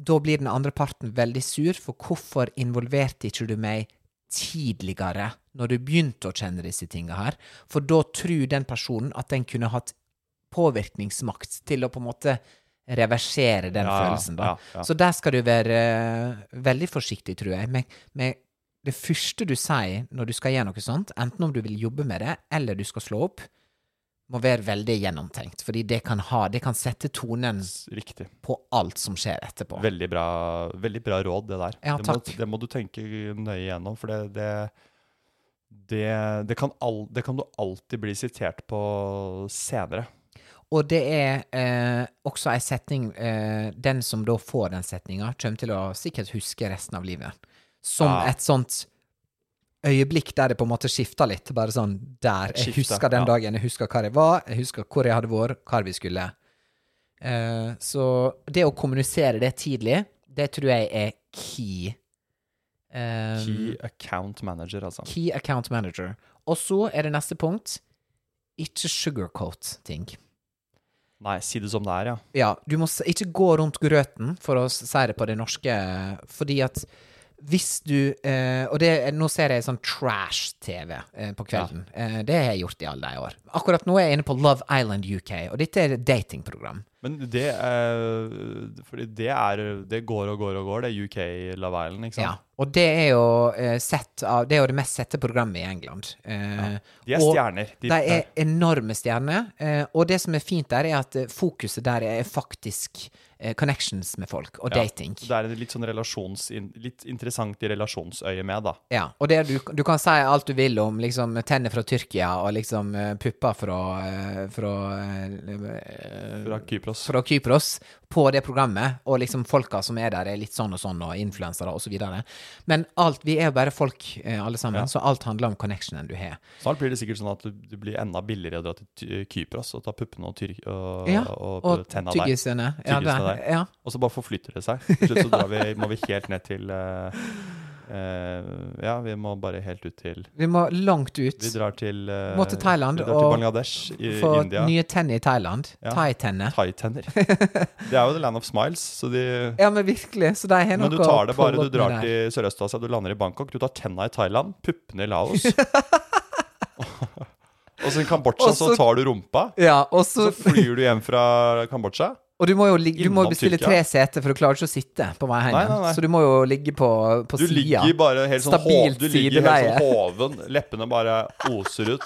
Speaker 1: da blir den andre parten veldig sur, for hvorfor involverte ikke du meg tidligere, når du begynte å kjenne disse tinga her? For da tror den personen at den kunne hatt påvirkningsmakt til å på en måte reversere den
Speaker 2: Ja, ja,
Speaker 1: følelsen, da.
Speaker 2: ja, ja.
Speaker 1: Så der skal du være eh, veldig forsiktig, tror jeg, med, med det første du sier når du skal gjøre noe sånt, enten om du vil jobbe med det, eller du skal slå opp, må være veldig gjennomtenkt, fordi det kan, ha, det kan sette tonen
Speaker 2: Riktig.
Speaker 1: på alt som skjer etterpå.
Speaker 2: Veldig bra, veldig bra råd, det der.
Speaker 1: Ja,
Speaker 2: det, må,
Speaker 1: takk.
Speaker 2: det må du tenke nøye gjennom, for det det, det, det, kan al, det kan du alltid bli sitert på senere.
Speaker 1: Og det er eh, også ei setning eh, Den som da får den setninga, kommer til å sikkert huske resten av livet. Som
Speaker 2: Ja.
Speaker 1: et sånt øyeblikk der det på en måte skifter litt. Bare sånn der. Jeg
Speaker 2: Skifter,
Speaker 1: husker den
Speaker 2: ja.
Speaker 1: dagen, jeg husker hva jeg var, jeg husker hvor jeg hadde vært, hva vi skulle. Eh, så det å kommunisere det tidlig, det tror jeg er key. Eh, Um,
Speaker 2: Key account manager, altså.
Speaker 1: Key account manager. Og så er det neste punkt. Ikke sugarcoat ting.
Speaker 2: Nei, si det som det er, ja.
Speaker 1: Ja, du må s- ikke gå rundt grøten, for å s- si det på det norske, fordi at hvis du eh, Og det, er- nå ser jeg sånn trash-TV eh, på kvelden. Eh, det har jeg gjort i alle de år. Akkurat nå er jeg inne på Love Island UK, og dette er et datingprogram.
Speaker 2: Men det eh, Fordi det er Det går og går og går, det er UK Love Island, ikke
Speaker 1: Ja,
Speaker 2: sant?
Speaker 1: og det er jo eh, sett av, Det er jo det mest sette programmet i England. Eh,
Speaker 2: De er
Speaker 1: og
Speaker 2: stjerner.
Speaker 1: De er enorme stjerner, eh, og det som er fint der, er at eh, fokuset der er faktisk eh, connections med folk, og
Speaker 2: Ja,
Speaker 1: dating.
Speaker 2: Så det er en litt sånn relasjons... in- Litt interessant i relasjonsøyet med, da.
Speaker 1: Ja, og det du, du kan si alt du vil om liksom, tenner fra Tyrkia og liksom eh, pupper fra, eh, fra, eh,
Speaker 2: Fra Kypros.
Speaker 1: fra Kypros på det programmet, og liksom folka som er der er litt sånn og sånn, og influensere og så videre. Men alt, vi er jo bare folk eh, alle sammen, så alt handler om connectionen du har.
Speaker 2: Snart blir det sikkert sånn at du- det blir enda billigere å dra til Ty- Kypros og ta puppene og, tyr, og,
Speaker 1: Ja,
Speaker 2: og,
Speaker 1: og
Speaker 2: tenna der.
Speaker 1: tyggisene. Ja,
Speaker 2: Tyggisene
Speaker 1: der.
Speaker 2: der.
Speaker 1: Ja.
Speaker 2: Og så bare forflytter det seg. Til slutt så drar vi, må vi helt ned til eh, eh, Ja, vi må bare helt ut til
Speaker 1: Vi må langt ut.
Speaker 2: Vi drar til eh,
Speaker 1: Må til Thailand
Speaker 2: Vi drar til
Speaker 1: og
Speaker 2: Bangladesh, i,
Speaker 1: Få
Speaker 2: India.
Speaker 1: nye tenner i Thailand.
Speaker 2: Ja.
Speaker 1: Thai-tenner. *laughs*
Speaker 2: Thai-tenner. Det er jo the land of smiles, så de
Speaker 1: Ja, men virkelig. Så de har noe
Speaker 2: men du tar det
Speaker 1: å
Speaker 2: bare,
Speaker 1: prøve
Speaker 2: du drar
Speaker 1: med der.
Speaker 2: til Sørøst-Asia, du lander i Bangkok, du tar tenna i Thailand, puppene i
Speaker 1: *laughs*
Speaker 2: Laos. og så i Kambodsja
Speaker 1: Og så-
Speaker 2: så tar du rumpa,
Speaker 1: Ja, og så
Speaker 2: så flyr du hjem fra Kambodsja.
Speaker 1: Og du må jo ligge, du må
Speaker 2: Innom
Speaker 1: bestille
Speaker 2: Tyrkia.
Speaker 1: tre seter, for du klarer ikke å sitte på vei hjem.
Speaker 2: Nei, nei, nei.
Speaker 1: Så du må jo ligge på, på
Speaker 2: Du
Speaker 1: sida.
Speaker 2: ligger bare helt sånn, hov,
Speaker 1: Stabilt
Speaker 2: du ligger helt
Speaker 1: sideleie.
Speaker 2: sånn hoven, leppene bare oser ut.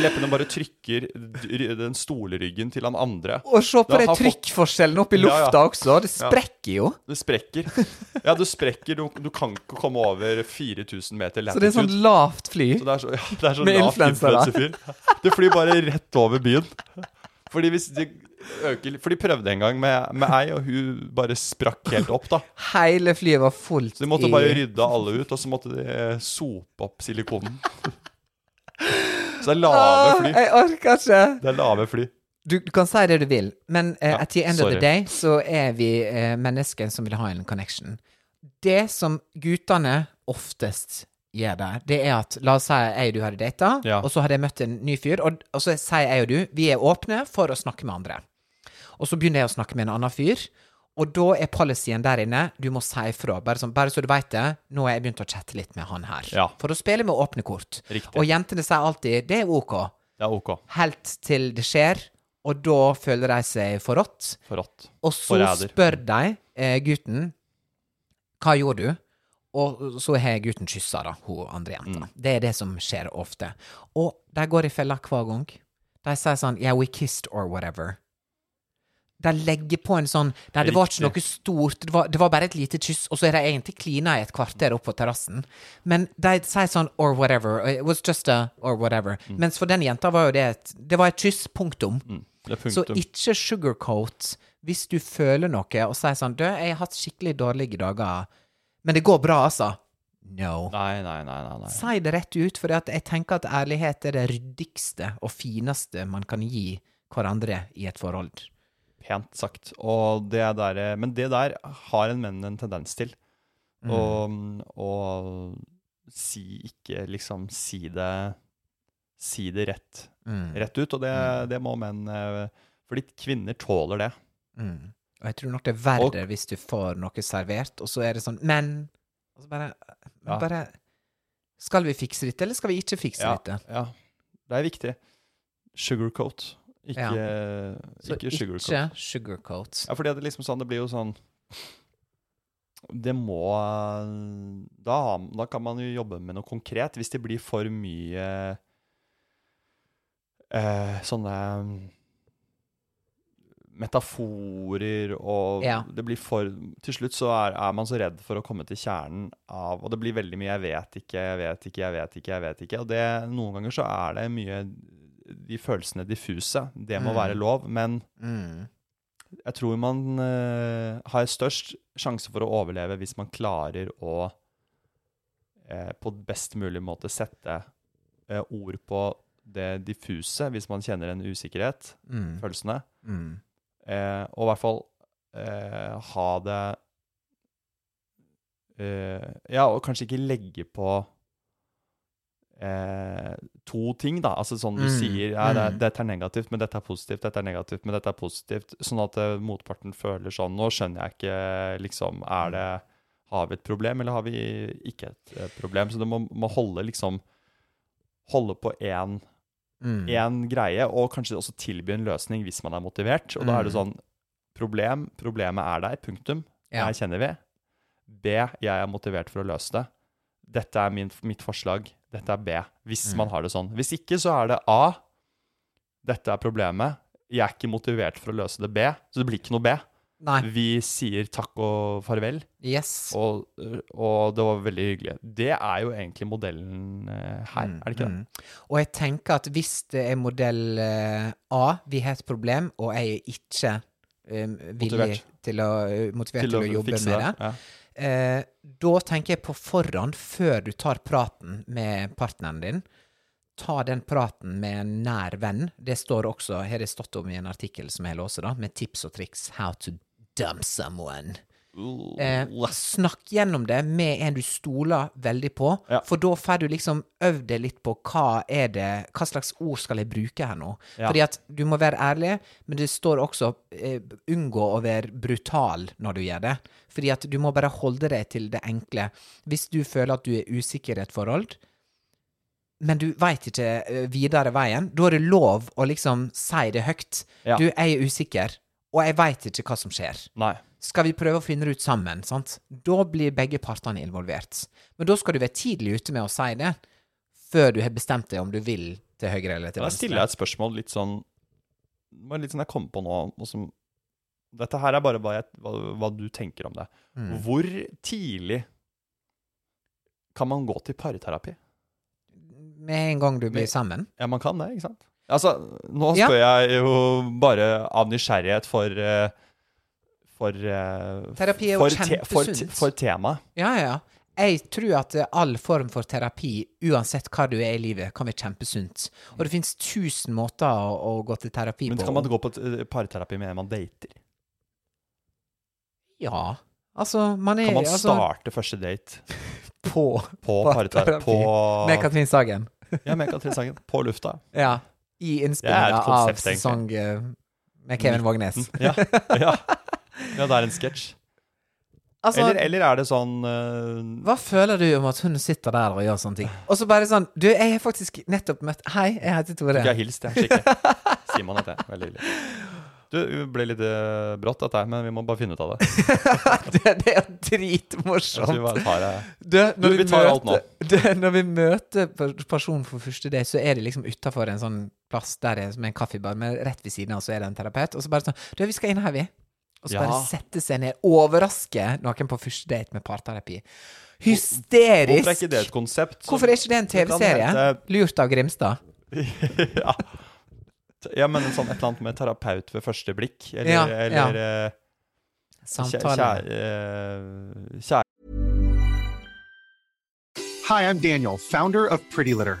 Speaker 2: Leppene bare trykker d- den stolryggen til han andre.
Speaker 1: Og se
Speaker 2: Du
Speaker 1: på det
Speaker 2: har fått-
Speaker 1: trykkforskjellen opp i
Speaker 2: Ja, ja.
Speaker 1: lufta også. Det sprekker jo.
Speaker 2: Det sprekker. Ja, du sprekker. Du, du kan ikke komme over 4000 meter
Speaker 1: Så det
Speaker 2: latitude.
Speaker 1: er sånn lavt fly.
Speaker 2: Så det er så, ja, det er så
Speaker 1: Med
Speaker 2: lavt
Speaker 1: influensa, da.
Speaker 2: influensefyr. Det flyr bare rett over byen. Fordi hvis de øker For de prøvde en gang med, med ei, og hun bare sprakk helt opp, da.
Speaker 1: Hele flyet var fullt
Speaker 2: Så de måtte
Speaker 1: i
Speaker 2: bare rydde alle ut, og så måtte de eh, sope opp silikonen. *laughs* Så det er lave
Speaker 1: Åh,
Speaker 2: fly.
Speaker 1: Jeg orker ikke.
Speaker 2: Det er lave fly.
Speaker 1: Du, du kan si det du vil, men eh,
Speaker 2: Ja,
Speaker 1: at the end of
Speaker 2: sorry.
Speaker 1: the day så er vi eh, mennesker som vil ha en connection. Det som guttene oftest gjør der, det er at la oss si jeg og du hadde data,
Speaker 2: Ja.
Speaker 1: og så hadde jeg møtt en ny fyr, og, og så sier jeg og du vi er åpne for å snakke med andre. Og så begynner jeg å snakke med en annen fyr, og da er policyen der inne du må si ifra. Bare, sånn, bare så du veit det, nå har jeg begynt å chatte litt med han her.
Speaker 2: Ja.
Speaker 1: For å spille med åpne kort.
Speaker 2: Riktig.
Speaker 1: Og jentene sier alltid det er ok
Speaker 2: Det er ok.
Speaker 1: helt til det skjer, og da føler de seg forrådt.
Speaker 2: Forrådt.
Speaker 1: Og så
Speaker 2: Forræder.
Speaker 1: spør de eh, gutten hva gjorde du? Og så har gutten kyssa da, hun andre jenta. Det er det som skjer ofte. Og de går i fella hver gang. De sier sånn Yeah, we kissed or whatever. De legger på en sånn Nei, det var ikke
Speaker 2: Riktig.
Speaker 1: noe stort, det var, det var bare et lite kyss, og så er de egentlig klina i et kvarter oppe på terrassen. Men de sier sånn or whatever. It was just a or whatever. Mens for den jenta var jo det et Det var et kyss, punktum.
Speaker 2: Det er
Speaker 1: Så
Speaker 2: punktum.
Speaker 1: ikke sugarcoat hvis du føler noe og sier sånn Du, jeg har hatt skikkelig dårlige dager, men det går bra, altså. No.
Speaker 2: Nei, nei, nei, nei. nei.
Speaker 1: Si det rett ut, for jeg tenker at ærlighet er det ryddigste og fineste man kan gi hverandre i et forhold.
Speaker 2: Pent sagt. Og det der, eh, men det der har en menn en tendens til.
Speaker 1: Mm.
Speaker 2: Og, og si ikke liksom Si det Si det rett,
Speaker 1: Mm.
Speaker 2: rett ut. Og det, det må menn eh, Fordi kvinner tåler det.
Speaker 1: Mm. Og jeg tror nok det er
Speaker 2: Og-
Speaker 1: verre hvis du får noe servert, og så er det sånn Men Og så bare, men
Speaker 2: Ja.
Speaker 1: bare Skal vi fikse dette, eller skal vi ikke fikse
Speaker 2: Ja,
Speaker 1: dette?
Speaker 2: ja. Det er viktig. Sugarcoat. Ikke,
Speaker 1: Så
Speaker 2: ikke sugarcoat.
Speaker 1: ikke sugarcoat.
Speaker 2: Ja, fordi det er liksom sånn, det blir jo sånn Det må da, har- da kan man jo jobbe med noe konkret. Hvis det blir for mye eh, sånne metaforer og
Speaker 1: Ja.
Speaker 2: det blir for Til slutt så er, er man så redd for å komme til kjernen av Og det blir veldig mye 'jeg vet ikke, jeg vet ikke, jeg vet ikke', jeg vet ikke. Og det, noen ganger så er det mye de følelsene diffuse. Det må
Speaker 1: Mm.
Speaker 2: være lov, men
Speaker 1: Mm.
Speaker 2: jeg tror man eh, har størst sjanse for å overleve hvis man klarer å eh, på best mulig måte sette eh, ord på det diffuse, hvis man kjenner en usikkerhet,
Speaker 1: Mm.
Speaker 2: følelsene.
Speaker 1: Mm.
Speaker 2: Eh, og i hvert fall eh, ha det eh, Ja, og kanskje ikke legge på eh, to ting, da. Altså sånn du
Speaker 1: Mm,
Speaker 2: sier ja, det,
Speaker 1: mm.
Speaker 2: dette er negativt, men dette er positivt, dette er negativt, men dette er positivt. Sånn at eh, motparten føler sånn Nå skjønner jeg ikke, liksom Er det Har vi et problem, eller har vi ikke et eh, problem? Så du må, må holde liksom Holde på én
Speaker 1: Mm.
Speaker 2: greie, og kanskje også tilby en løsning hvis man er motivert. Og da er det
Speaker 1: Mm.
Speaker 2: sånn Problem, problemet er der, punktum.
Speaker 1: Ja.
Speaker 2: Her kjenner vi. B, jeg er motivert for å løse det. Dette er min, mitt forslag. Dette er B. Hvis
Speaker 1: Mm.
Speaker 2: man har det sånn. Hvis ikke, så er det A. Dette er problemet. Jeg er ikke motivert for å løse det B, så det blir ikke noe B.
Speaker 1: Nei.
Speaker 2: Vi sier takk og farvel,
Speaker 1: Yes.
Speaker 2: og, og det var veldig hyggelig. Det er jo egentlig modellen eh,
Speaker 1: Mm.
Speaker 2: her, er det ikke det?
Speaker 1: Og jeg tenker at hvis det er modell eh, A, vi har et problem, og jeg er ikke um, villig
Speaker 2: Motivert.
Speaker 1: til å, eh, motivert til å, jobbe med
Speaker 2: fikse
Speaker 1: det, eh, da tenker jeg på forhånd, før du tar praten med partneren din, ta den praten med en nær venn. Det står også, har det stått om i en artikkel som jeg låser da, med tips og triks how to dump someone. Eh, snakk gjennom det med en du stoler veldig på,
Speaker 2: Ja.
Speaker 1: for da får du liksom øvd deg litt på hva er det Hva slags ord skal jeg bruke her nå?
Speaker 2: Ja.
Speaker 1: Fordi at du må være ærlig, men det står også eh, unngå å være brutal når du gjør det. Fordi at du må bare holde deg til det enkle. Hvis du føler at du er usikker i et forhold, men du veit ikke eh, videre veien, da er det lov å liksom si det høyt.
Speaker 2: Ja.
Speaker 1: Du, jeg er usikker, og jeg veit ikke hva som skjer
Speaker 2: Nei.
Speaker 1: skal vi prøve å finne det ut sammen, sant? Da blir begge partene involvert. Men da skal du være tidlig ute med å si det, før du har bestemt deg om du vil til høyre eller til
Speaker 2: Da
Speaker 1: venstre.
Speaker 2: stiller jeg et spørsmål litt sånn det var Litt sånn jeg kom på nå og som, Dette her er bare hva, jeg, hva, hva du tenker om det.
Speaker 1: Mm.
Speaker 2: Hvor tidlig kan man gå til parterapi?
Speaker 1: Med en gang du blir sammen.
Speaker 2: Ja, man kan det, ikke sant? Altså, nå
Speaker 1: Ja.
Speaker 2: spør jeg jo bare av nysgjerrighet for eh, For eh,
Speaker 1: Terapi er jo
Speaker 2: for te- for te-
Speaker 1: kjempesunt.
Speaker 2: For temaet.
Speaker 1: Ja, ja, ja. Jeg tror at eh, all form for terapi, uansett hva du er i livet, kan være kjempesunt. Og det finnes tusen måter å, å gå til terapi
Speaker 2: Men
Speaker 1: på.
Speaker 2: kan man gå på t- eh, parterapi med en man dater?
Speaker 1: Ja. Altså, man er
Speaker 2: Kan man
Speaker 1: altså,
Speaker 2: starte første date
Speaker 1: på
Speaker 2: på *laughs* parterapi?
Speaker 1: Parterapi.
Speaker 2: På,
Speaker 1: med Katrin Sagen.
Speaker 2: ja, med Katrin Sagen. På lufta.
Speaker 1: Ja. I
Speaker 2: Det er
Speaker 1: innspillinga
Speaker 2: et
Speaker 1: av
Speaker 2: konsept, egentlig. Mm.
Speaker 1: sesong eh, med Kevin Vågnes.
Speaker 2: Ja, ja. ja det er en sketsj.
Speaker 1: Altså,
Speaker 2: eller, eller er det sånn eh,
Speaker 1: Hva føler du om at hun sitter der og gjør sånne ting? Og så bare sånn Du, jeg har faktisk nettopp møtt Hei, jeg heter Tore.
Speaker 2: Ikke har hilst, jeg. Skikkelig. Simon heter jeg. Veldig hyggelig. Du, det ble litt eh, brått, dette her, men vi må bare finne ut av
Speaker 1: *laughs*
Speaker 2: det.
Speaker 1: det, det er
Speaker 2: Jeg tror vi
Speaker 1: dritmorsomt.
Speaker 2: bare tar det.
Speaker 1: Du, når,
Speaker 2: vi tar alt nå.
Speaker 1: det, når vi møter per- personen for første date, så er det liksom utafor en sånn plass der det er som en kaffebar, men rett ved siden av så er det en terapeut. Og så bare sånn Du, vi skal inn her, vi. Og så
Speaker 2: Ja.
Speaker 1: bare sette seg ned. Overraske noen på første date med parterapi. Hysterisk!
Speaker 2: Hvorfor er ikke det et konsept? som-
Speaker 1: Hvorfor er ikke det en
Speaker 2: som kan
Speaker 1: TV-serie?
Speaker 2: hete-
Speaker 1: Lurt av Grimstad.
Speaker 2: *laughs* ja. ja, men sånn et eller annet med terapeut ved første blikk, eller,
Speaker 1: Ja,
Speaker 2: eller eh, kjæ-
Speaker 1: Samtale.
Speaker 2: kjæ- eh, kjæ-
Speaker 3: Hi, I'm Daniel, founder of Pretty Litter.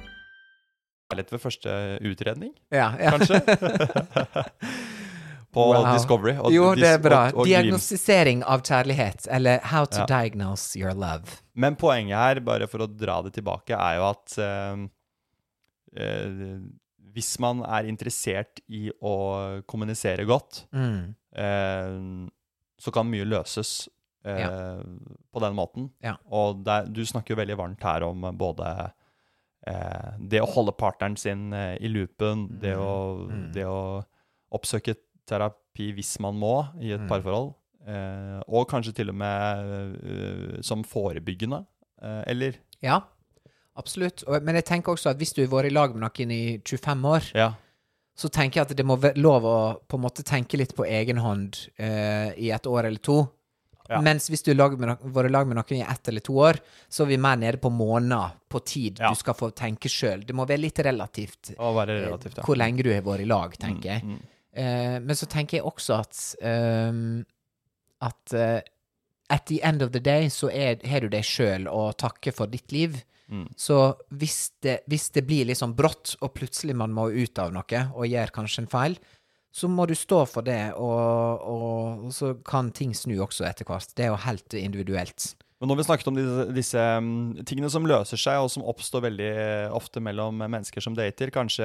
Speaker 2: kjærlighet ved første
Speaker 1: *laughs*
Speaker 2: utredning,
Speaker 1: Ja, ja.
Speaker 2: kanskje?
Speaker 1: *laughs*
Speaker 2: på
Speaker 1: Wow.
Speaker 2: Discovery. og
Speaker 1: jo,
Speaker 2: dis-
Speaker 1: det er bra.
Speaker 2: og- og Glimt.
Speaker 1: Diagnostisering av kjærlighet, eller How to
Speaker 2: Ja.
Speaker 1: diagnose your love.
Speaker 2: Men poenget her, bare for å dra det tilbake, er jo at eh, eh, hvis man er interessert i å kommunisere godt,
Speaker 1: Mm.
Speaker 2: eh, så kan mye løses eh, på den måten.
Speaker 1: Ja.
Speaker 2: Og det er- du snakker jo veldig varmt her om eh, både eh, det å holde partneren sin eh, i loopen, det
Speaker 1: Mm.
Speaker 2: å, det å oppsøke terapi hvis man må i
Speaker 1: Mm.
Speaker 2: et parforhold, eh, og kanskje til og med eh, som forebyggende, eh, eller?
Speaker 1: Ja, absolutt. Og, men jeg tenker også at hvis du har vært i lag med noen i 25 år,
Speaker 2: Ja.
Speaker 1: så tenker jeg at det må være lov å på en måte tenke litt på egen hånd eh, i et år eller to.
Speaker 2: Ja.
Speaker 1: Mens hvis du har lag med no- vært i lag med noen i ett eller to år, så er vi mer nede på måneder på tid
Speaker 2: Ja.
Speaker 1: du skal få tenke sjøl. Det må være litt relativt
Speaker 2: Å være
Speaker 1: eh,
Speaker 2: relativt, ja. Mm,
Speaker 1: hvor lenge du har vært i lag, tenker jeg. Eh, men så tenker jeg også at ehm, at eh, at the end of the day så er- har du deg sjøl å takke for ditt liv.
Speaker 2: Mm.
Speaker 1: Så hvis det, hvis det blir litt sånn brått, og plutselig man må ut av noe og gjør kanskje en feil, så må du stå for det, og, og, og så kan ting snu også etter hvert. Det er jo helt individuelt.
Speaker 2: Men nå har vi snakket om disse, disse mm, tingene som løser seg, og som oppstår veldig eh, ofte mellom mennesker som dater, kanskje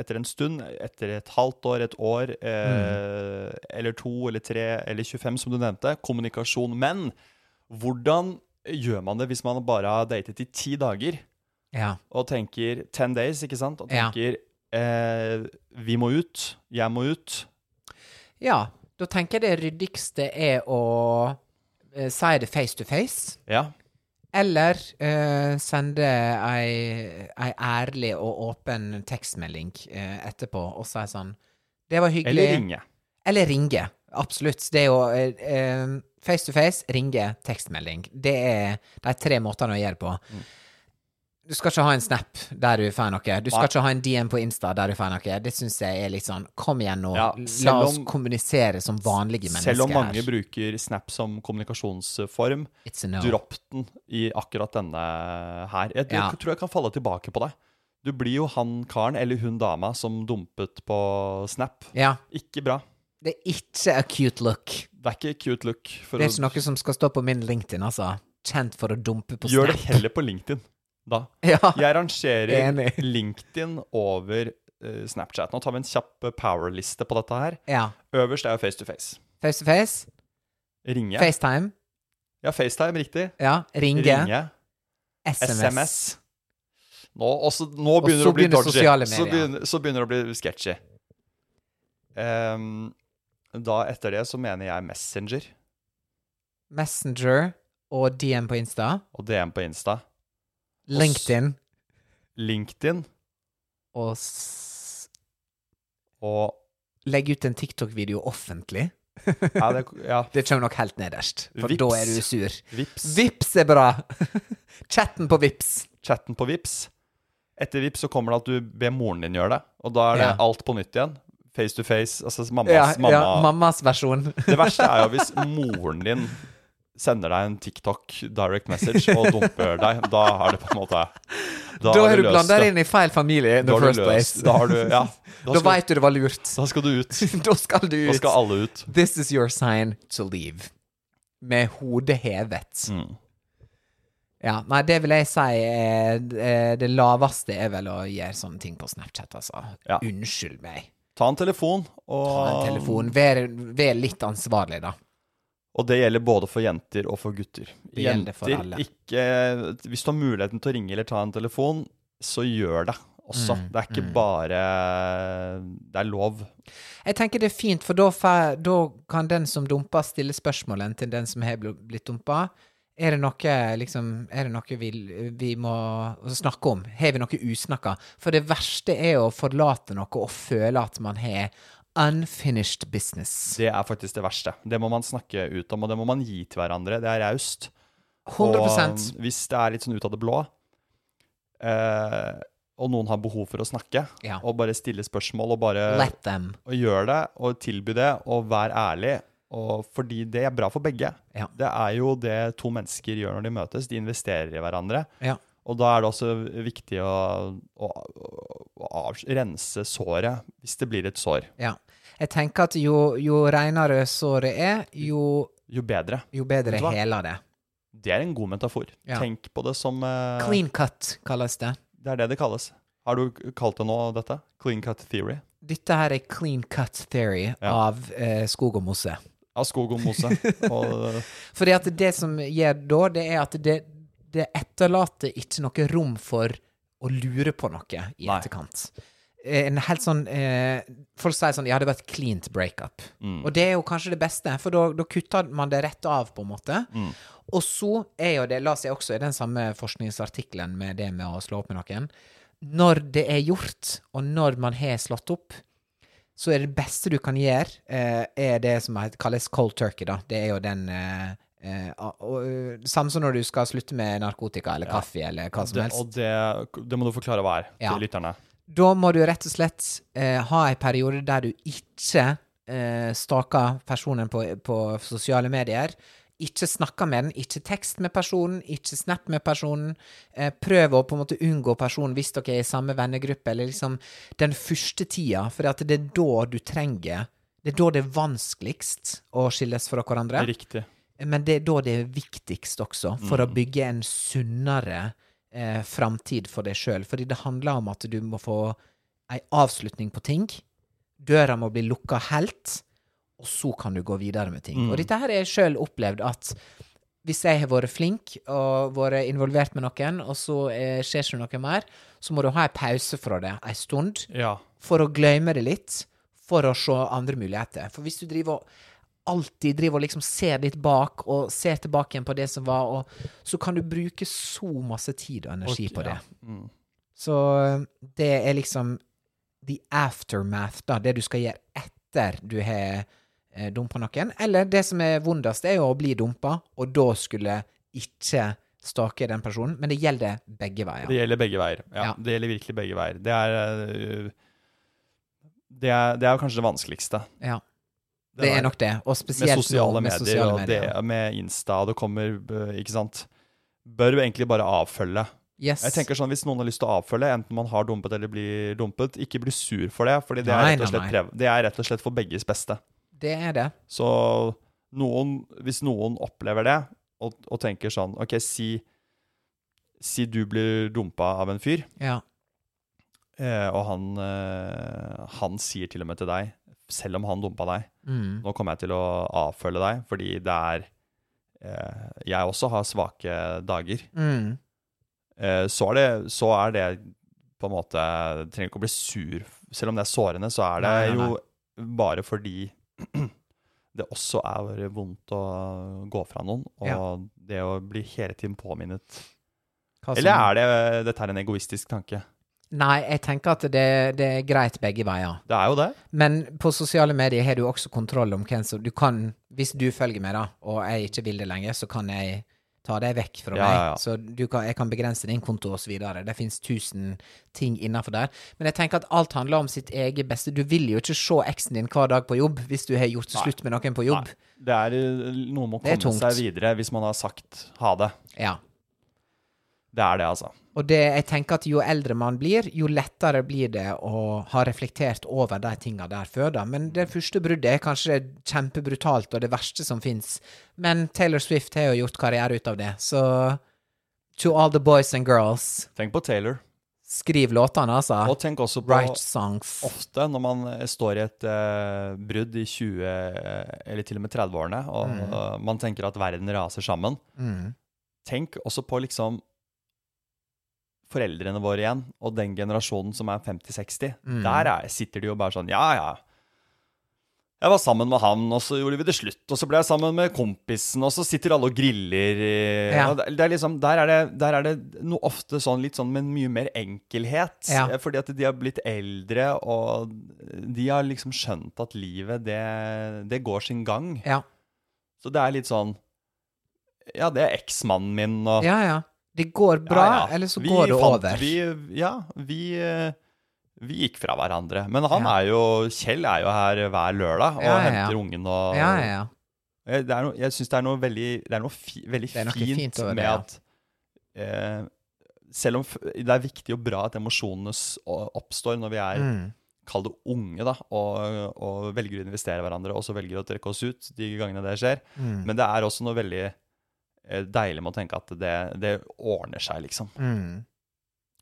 Speaker 2: etter en stund, etter et halvt år, et år, eh,
Speaker 1: Mm.
Speaker 2: eller to, eller tre, eller 25, som du nevnte. Kommunikasjon. Men hvordan gjør man det hvis man bare har datet i ti dager,
Speaker 1: Ja.
Speaker 2: og tenker 10 days, ikke sant? Og
Speaker 1: Ja.
Speaker 2: tenker eh, vi må ut, jeg må ut.
Speaker 1: ja. Da tenker jeg det ryddigste er å eh, si det face to face.
Speaker 2: Ja.
Speaker 1: Eller eh, sende ei, ei ærlig og åpen tekstmelding eh, etterpå og si sånn Det var hyggelig.
Speaker 2: Eller ringe.
Speaker 1: Eller ringe. Absolutt. Det er jo eh, eh, face to face, ringe, tekstmelding. Det er de tre måtene å gjøre det på.
Speaker 2: Mm.
Speaker 1: Du skal ikke ha en snap der du får noe. Du skal
Speaker 2: Nei.
Speaker 1: ikke ha en DM på Insta der du får noe. Det syns jeg er litt sånn Kom igjen nå.
Speaker 2: Ja,
Speaker 1: La
Speaker 2: selv
Speaker 1: oss
Speaker 2: om-
Speaker 1: kommunisere som vanlige mennesker.
Speaker 2: Selv om mange
Speaker 1: her.
Speaker 2: bruker Snap som kommunikasjonsform,
Speaker 1: It's a no.
Speaker 2: dropp den i akkurat denne her. Jeg,
Speaker 1: Ja.
Speaker 2: jeg tror jeg kan falle tilbake på deg. Du blir jo han karen eller hun dama som dumpet på Snap.
Speaker 1: Ja.
Speaker 2: Ikke bra.
Speaker 1: Det er ikke a cute look.
Speaker 2: Det er ikke cute look. for
Speaker 1: Det
Speaker 2: å-
Speaker 1: er ikke noe som skal stå på min LinkedIn, altså. Kjent for å dumpe på
Speaker 2: Gjør det
Speaker 1: Snap.
Speaker 2: heller på LinkedIn, da.
Speaker 1: *laughs* Ja.
Speaker 2: Jeg rangerer
Speaker 1: Enig.
Speaker 2: LinkedIn over eh, Snapchat. Nå tar vi en kjapp eh, powerliste på dette her.
Speaker 1: ja.
Speaker 2: Øverst er jo face to face.
Speaker 1: Face to face,
Speaker 2: Ringe.
Speaker 1: FaceTime,
Speaker 2: Ja, FaceTime, riktig.
Speaker 1: ja. ringe,
Speaker 2: Ringe.
Speaker 1: SMS.
Speaker 2: SMS. Nå, også, nå begynner
Speaker 1: så
Speaker 2: det å bli
Speaker 1: begynner
Speaker 2: dodgy.
Speaker 1: sosiale
Speaker 2: Så
Speaker 1: medier.
Speaker 2: begynner, så begynner det å bli sketchy. Ehm, da etter det så mener jeg Messenger
Speaker 1: Messenger og DM på Insta.
Speaker 2: og DM på Insta.
Speaker 1: LinkedIn
Speaker 2: LinkedIn
Speaker 1: og s
Speaker 2: og
Speaker 1: Legg ut en TikTok-video offentlig.
Speaker 2: ja, det, ja,
Speaker 1: Det kommer nok helt nederst, for
Speaker 2: Vips.
Speaker 1: da er du sur.
Speaker 2: Vips.
Speaker 1: Vips er bra! *laughs* Chatten på Vips.
Speaker 2: Chatten på Vips. Etter Vips så kommer det at du ber moren din gjøre det, og da er det
Speaker 1: Ja.
Speaker 2: alt på nytt igjen. Face to face. Altså mammas,
Speaker 1: Ja,
Speaker 2: mamma.
Speaker 1: ja, mammas *laughs* versjon.
Speaker 2: Det verste er jo hvis moren din sender deg en TikTok direct message og dumper deg. Da er det på en måte
Speaker 1: Da har du
Speaker 2: løst
Speaker 1: blanda
Speaker 2: det.
Speaker 1: deg inn i feil familie in the
Speaker 2: Da har du
Speaker 1: first
Speaker 2: løst-
Speaker 1: place.
Speaker 2: Da, har du, ja, da,
Speaker 1: *laughs* Da
Speaker 2: skal,
Speaker 1: veit du det var lurt.
Speaker 2: da skal du ut.
Speaker 1: *laughs* Da skal du
Speaker 2: Da
Speaker 1: ut.
Speaker 2: skal alle ut.
Speaker 1: This is your sign to leave. Med hodet hevet. Ja, nei, det vil jeg si er eh, Det laveste er vel å gjøre sånne ting på Snapchat, altså.
Speaker 2: Ja.
Speaker 1: Unnskyld meg.
Speaker 2: Ta en telefon, og,
Speaker 1: Ta en telefon. Vær, vær litt ansvarlig, da.
Speaker 2: og det gjelder både for jenter og for gutter.
Speaker 1: gjelder for alle.
Speaker 2: ikke Hvis du har muligheten til å ringe eller ta en telefon, så gjør det også.
Speaker 1: Mm,
Speaker 2: det er ikke bare Det er lov.
Speaker 1: Jeg tenker det er fint, for da, fa- da kan den som dumper, stille spørsmålene til den som har bl- blitt dumpa. Er det noe, liksom, er det noe vi, vi må snakke om? Har vi noe usnakka? For det verste er å forlate noe og føle at man har unfinished business.
Speaker 2: Det er faktisk det verste. Det må man snakke ut om, og det må man gi til hverandre. Det er raust.
Speaker 1: 100
Speaker 2: Og hvis det er litt sånn ut av det blå, eh, og noen har behov for å snakke,
Speaker 1: Ja.
Speaker 2: og bare stille spørsmål og eh, bare
Speaker 1: Let them.
Speaker 2: og gjør det, og tilby det, og vær ærlig, og fordi det er bra for begge.
Speaker 1: Ja.
Speaker 2: Det er jo det to mennesker gjør når de møtes. De investerer i hverandre.
Speaker 1: Ja.
Speaker 2: Og da er det også viktig å, å, å avs- rense såret, hvis det blir et sår.
Speaker 1: ja. Jeg tenker at jo, jo reinere såret er, jo,
Speaker 2: Jo bedre.
Speaker 1: jo
Speaker 2: Vet
Speaker 1: bedre
Speaker 2: du hva?
Speaker 1: heler det.
Speaker 2: Det er en god metafor.
Speaker 1: Ja.
Speaker 2: Tenk på det som eh,
Speaker 1: Clean cut kalles det.
Speaker 2: Det er det det kalles. Har du kalt det nå, dette? Clean cut theory?
Speaker 1: Dette her er clean cut theory av eh, skog og mosse.
Speaker 2: Av skog og
Speaker 1: *laughs*
Speaker 2: mose. og,
Speaker 1: Fordi at det som gjør da, det er at det, det etterlater ikke noe rom for å lure på noe i
Speaker 2: Nei.
Speaker 1: etterkant. Eh, En helt sånn eh, Folk sier sånn Ja, det var et cleant breakup. Og det er jo kanskje det beste, for da- da kutter man det rett av, på en måte. Og så er jo det La oss si også i den samme forskningsartikkelen med det med å slå opp med noen Når det er gjort, og når man har slått opp, så er det beste du kan gjøre, eh, er det som heter- kalles cold turkey, da. Det er jo den eh, eh, og, og, Samme som når du skal slutte med narkotika eller kaffe eller hva som
Speaker 2: Det,
Speaker 1: helst.
Speaker 2: og det, det må du forklare hva er
Speaker 1: Ja.
Speaker 2: til lytterne.
Speaker 1: Da må du rett og slett eh, ha ei periode der du ikke eh, stalker personen på, på sosiale medier. Ikke snakker med den, ikke tekst med personen, ikke snap med personen. Eh, prøv å på en måte unngå personen hvis dere er i samme vennegruppe, eller liksom den første tida, for at det er da du trenger Det er da det er vanskeligst å skilles fra hverandre.
Speaker 2: Riktig.
Speaker 1: Men det er da det er viktigst også, for å bygge en sunnere eh, framtid for deg sjøl. Fordi det handler om at du må få ei avslutning på ting. Døra må bli lukka helt, og så kan du gå videre med ting. Og dette her har jeg sjøl opplevd at hvis jeg har vært flink og vært involvert med noen, og så eh, skjer ikke noe mer, så må du ha ei pause fra det ei stund
Speaker 2: Ja.
Speaker 1: for å glemme det litt, for å se andre muligheter. For hvis du driver og alltid driver og liksom ser litt bak, og ser tilbake igjen på det som var, og, så kan du bruke så masse tid og energi
Speaker 2: Ok,
Speaker 1: på det.
Speaker 2: ja. Mm.
Speaker 1: Så eh, det er liksom the aftermath, da. Det du skal gjøre etter du har eh, dumpa noen. Eller det som er vondest, er jo å bli dumpa, og da skulle ikke stake den personen. Men det gjelder begge veier.
Speaker 2: Det gjelder begge veier. Ja,
Speaker 1: Ja.
Speaker 2: Det gjelder virkelig begge veier. Det er, øh, det er, det er kanskje det vanskeligste.
Speaker 1: Ja, det er
Speaker 2: der.
Speaker 1: nok det. Og
Speaker 2: med
Speaker 1: spesielt nå
Speaker 2: sosiale medier
Speaker 1: sosiale
Speaker 2: og det,
Speaker 1: medier.
Speaker 2: med Insta. Det kommer, øh, ikke sant. Bør jo egentlig bare avfølge.
Speaker 1: Yes.
Speaker 2: Jeg tenker sånn, Hvis noen har lyst til å avfølge, enten man har dumpet eller blir dumpet, ikke bli sur for det. fordi det er
Speaker 1: Nei,
Speaker 2: rett og
Speaker 1: nei,
Speaker 2: slett,
Speaker 1: nei.
Speaker 2: prev- det er rett og slett for begges beste.
Speaker 1: Det er det.
Speaker 2: Så noen, hvis noen opplever det, og, og tenker sånn OK, si, si du blir dumpa av en fyr,
Speaker 1: Ja.
Speaker 2: eh, og han, eh, han sier til og med til deg, selv om han dumpa deg,
Speaker 1: Mm.
Speaker 2: nå kommer jeg til å avfølge deg, fordi det er eh, Jeg også har svake dager.
Speaker 1: Mm.
Speaker 2: Eh, så, er det, så er det på en måte Trenger ikke å bli sur. Selv om det er sårende, så er det
Speaker 1: Nei, nei, nei.
Speaker 2: jo bare fordi *clears throat* det også er vondt å gå fra noen, og
Speaker 1: Ja.
Speaker 2: det å bli hele tiden påminnet
Speaker 1: Hva som-
Speaker 2: Eller er det dette er en egoistisk tanke?
Speaker 1: Nei, jeg tenker at det, det er greit begge veier.
Speaker 2: Det er jo det.
Speaker 1: Men på sosiale medier har du også kontroll om hvem som Du kan, hvis du følger meg, da, og jeg ikke vil det lenger, så kan jeg ta deg vekk fra
Speaker 2: Ja,
Speaker 1: meg.
Speaker 2: ja, ja.
Speaker 1: Så du kan, jeg kan begrense din konto osv. Det fins tusen ting innafor der. Men jeg tenker at alt handler om sitt eget beste. Du vil jo ikke se eksen din hver dag på jobb hvis du har gjort slutt med noen på jobb.
Speaker 2: Nei. Det er eh, noe med å
Speaker 1: Det er
Speaker 2: komme
Speaker 1: tungt.
Speaker 2: seg videre hvis man har sagt ha det.
Speaker 1: Ja.
Speaker 2: Det er det, altså.
Speaker 1: Og det, jeg tenker at jo eldre man blir, jo lettere blir det å ha reflektert over de tinga der før, da. Men det første bruddet er kanskje kjempebrutalt og det verste som fins. Men Taylor Swift har jo gjort karriere ut av det, så To all the boys and girls,
Speaker 2: Tenk på Taylor.
Speaker 1: skriv låtene,
Speaker 2: Og
Speaker 1: altså.
Speaker 2: tenk også på
Speaker 1: Write songs.
Speaker 2: ofte når man eh, står i et eh, brudd i 20- eh, eller til og med 30-årene, og eh, man tenker at verden raser sammen.
Speaker 1: Mm.
Speaker 2: Tenk også på liksom foreldrene våre igjen, og den generasjonen som er 50-60.
Speaker 1: Mm.
Speaker 2: Der er, sitter de jo bare sånn Ja, ja. Jeg var sammen med han, og så gjorde vi det slutt. Og så ble jeg sammen med kompisen, og så sitter alle og griller. i-
Speaker 1: Ja.
Speaker 2: og det- Det er liksom, der, er det, der er det noe ofte sånn litt sånn med mye mer enkelhet.
Speaker 1: Ja.
Speaker 2: Eh, Fordi at de har blitt eldre, og de har liksom skjønt at livet, det, det går sin gang.
Speaker 1: Ja.
Speaker 2: Så det er litt sånn Ja, det er eksmannen min, og
Speaker 1: ja, ja. Det går bra,
Speaker 2: ja, ja.
Speaker 1: eller så
Speaker 2: Vi
Speaker 1: går det
Speaker 2: fant-
Speaker 1: over.
Speaker 2: Vi, ja, vi, eh, vi gikk fra hverandre. Men han
Speaker 1: Ja.
Speaker 2: er jo Kjell er jo her hver lørdag og
Speaker 1: Ja, ja, ja.
Speaker 2: henter ungen og
Speaker 1: Ja, ja, ja.
Speaker 2: Jeg, det er noe- jeg syns det er noe veldig Det er noe, fi, veldig
Speaker 1: Det er noe
Speaker 2: fint,
Speaker 1: fint over
Speaker 2: med
Speaker 1: det, ja.
Speaker 2: at eh, Selv om f- det er viktig og bra at emotionene s- å- oppstår når vi er
Speaker 1: Mm.
Speaker 2: kall det unge, da, og, og velger å investere i hverandre, og så velger å trekke oss ut de gangene det skjer.
Speaker 1: mm,
Speaker 2: Men det er også noe veldig eh, deilig med å tenke at det, det ordner seg, liksom.
Speaker 1: Mm.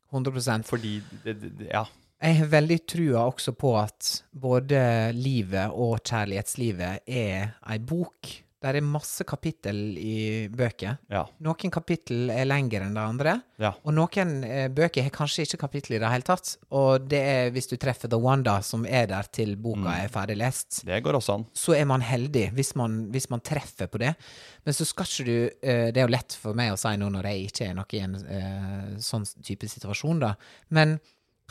Speaker 1: 100
Speaker 2: Fordi det, det, det- Ja.
Speaker 1: Jeg har veldig trua også på at både livet og kjærlighetslivet er ei bok Der er masse kapittel i bøker.
Speaker 2: Ja.
Speaker 1: Noen kapittel er lengre enn de andre,
Speaker 2: Ja.
Speaker 1: og noen eh, bøker har kanskje ikke kapittel i det hele tatt. Og det er hvis du treffer The Wanda, som er der til boka er ferdig lest,
Speaker 2: Det går også an.
Speaker 1: så er man heldig hvis man, hvis man treffer på det. Men så skal ikke du eh, Det er jo lett for meg å si nå når jeg ikke er noe i en eh, sånn type situasjon, da. Men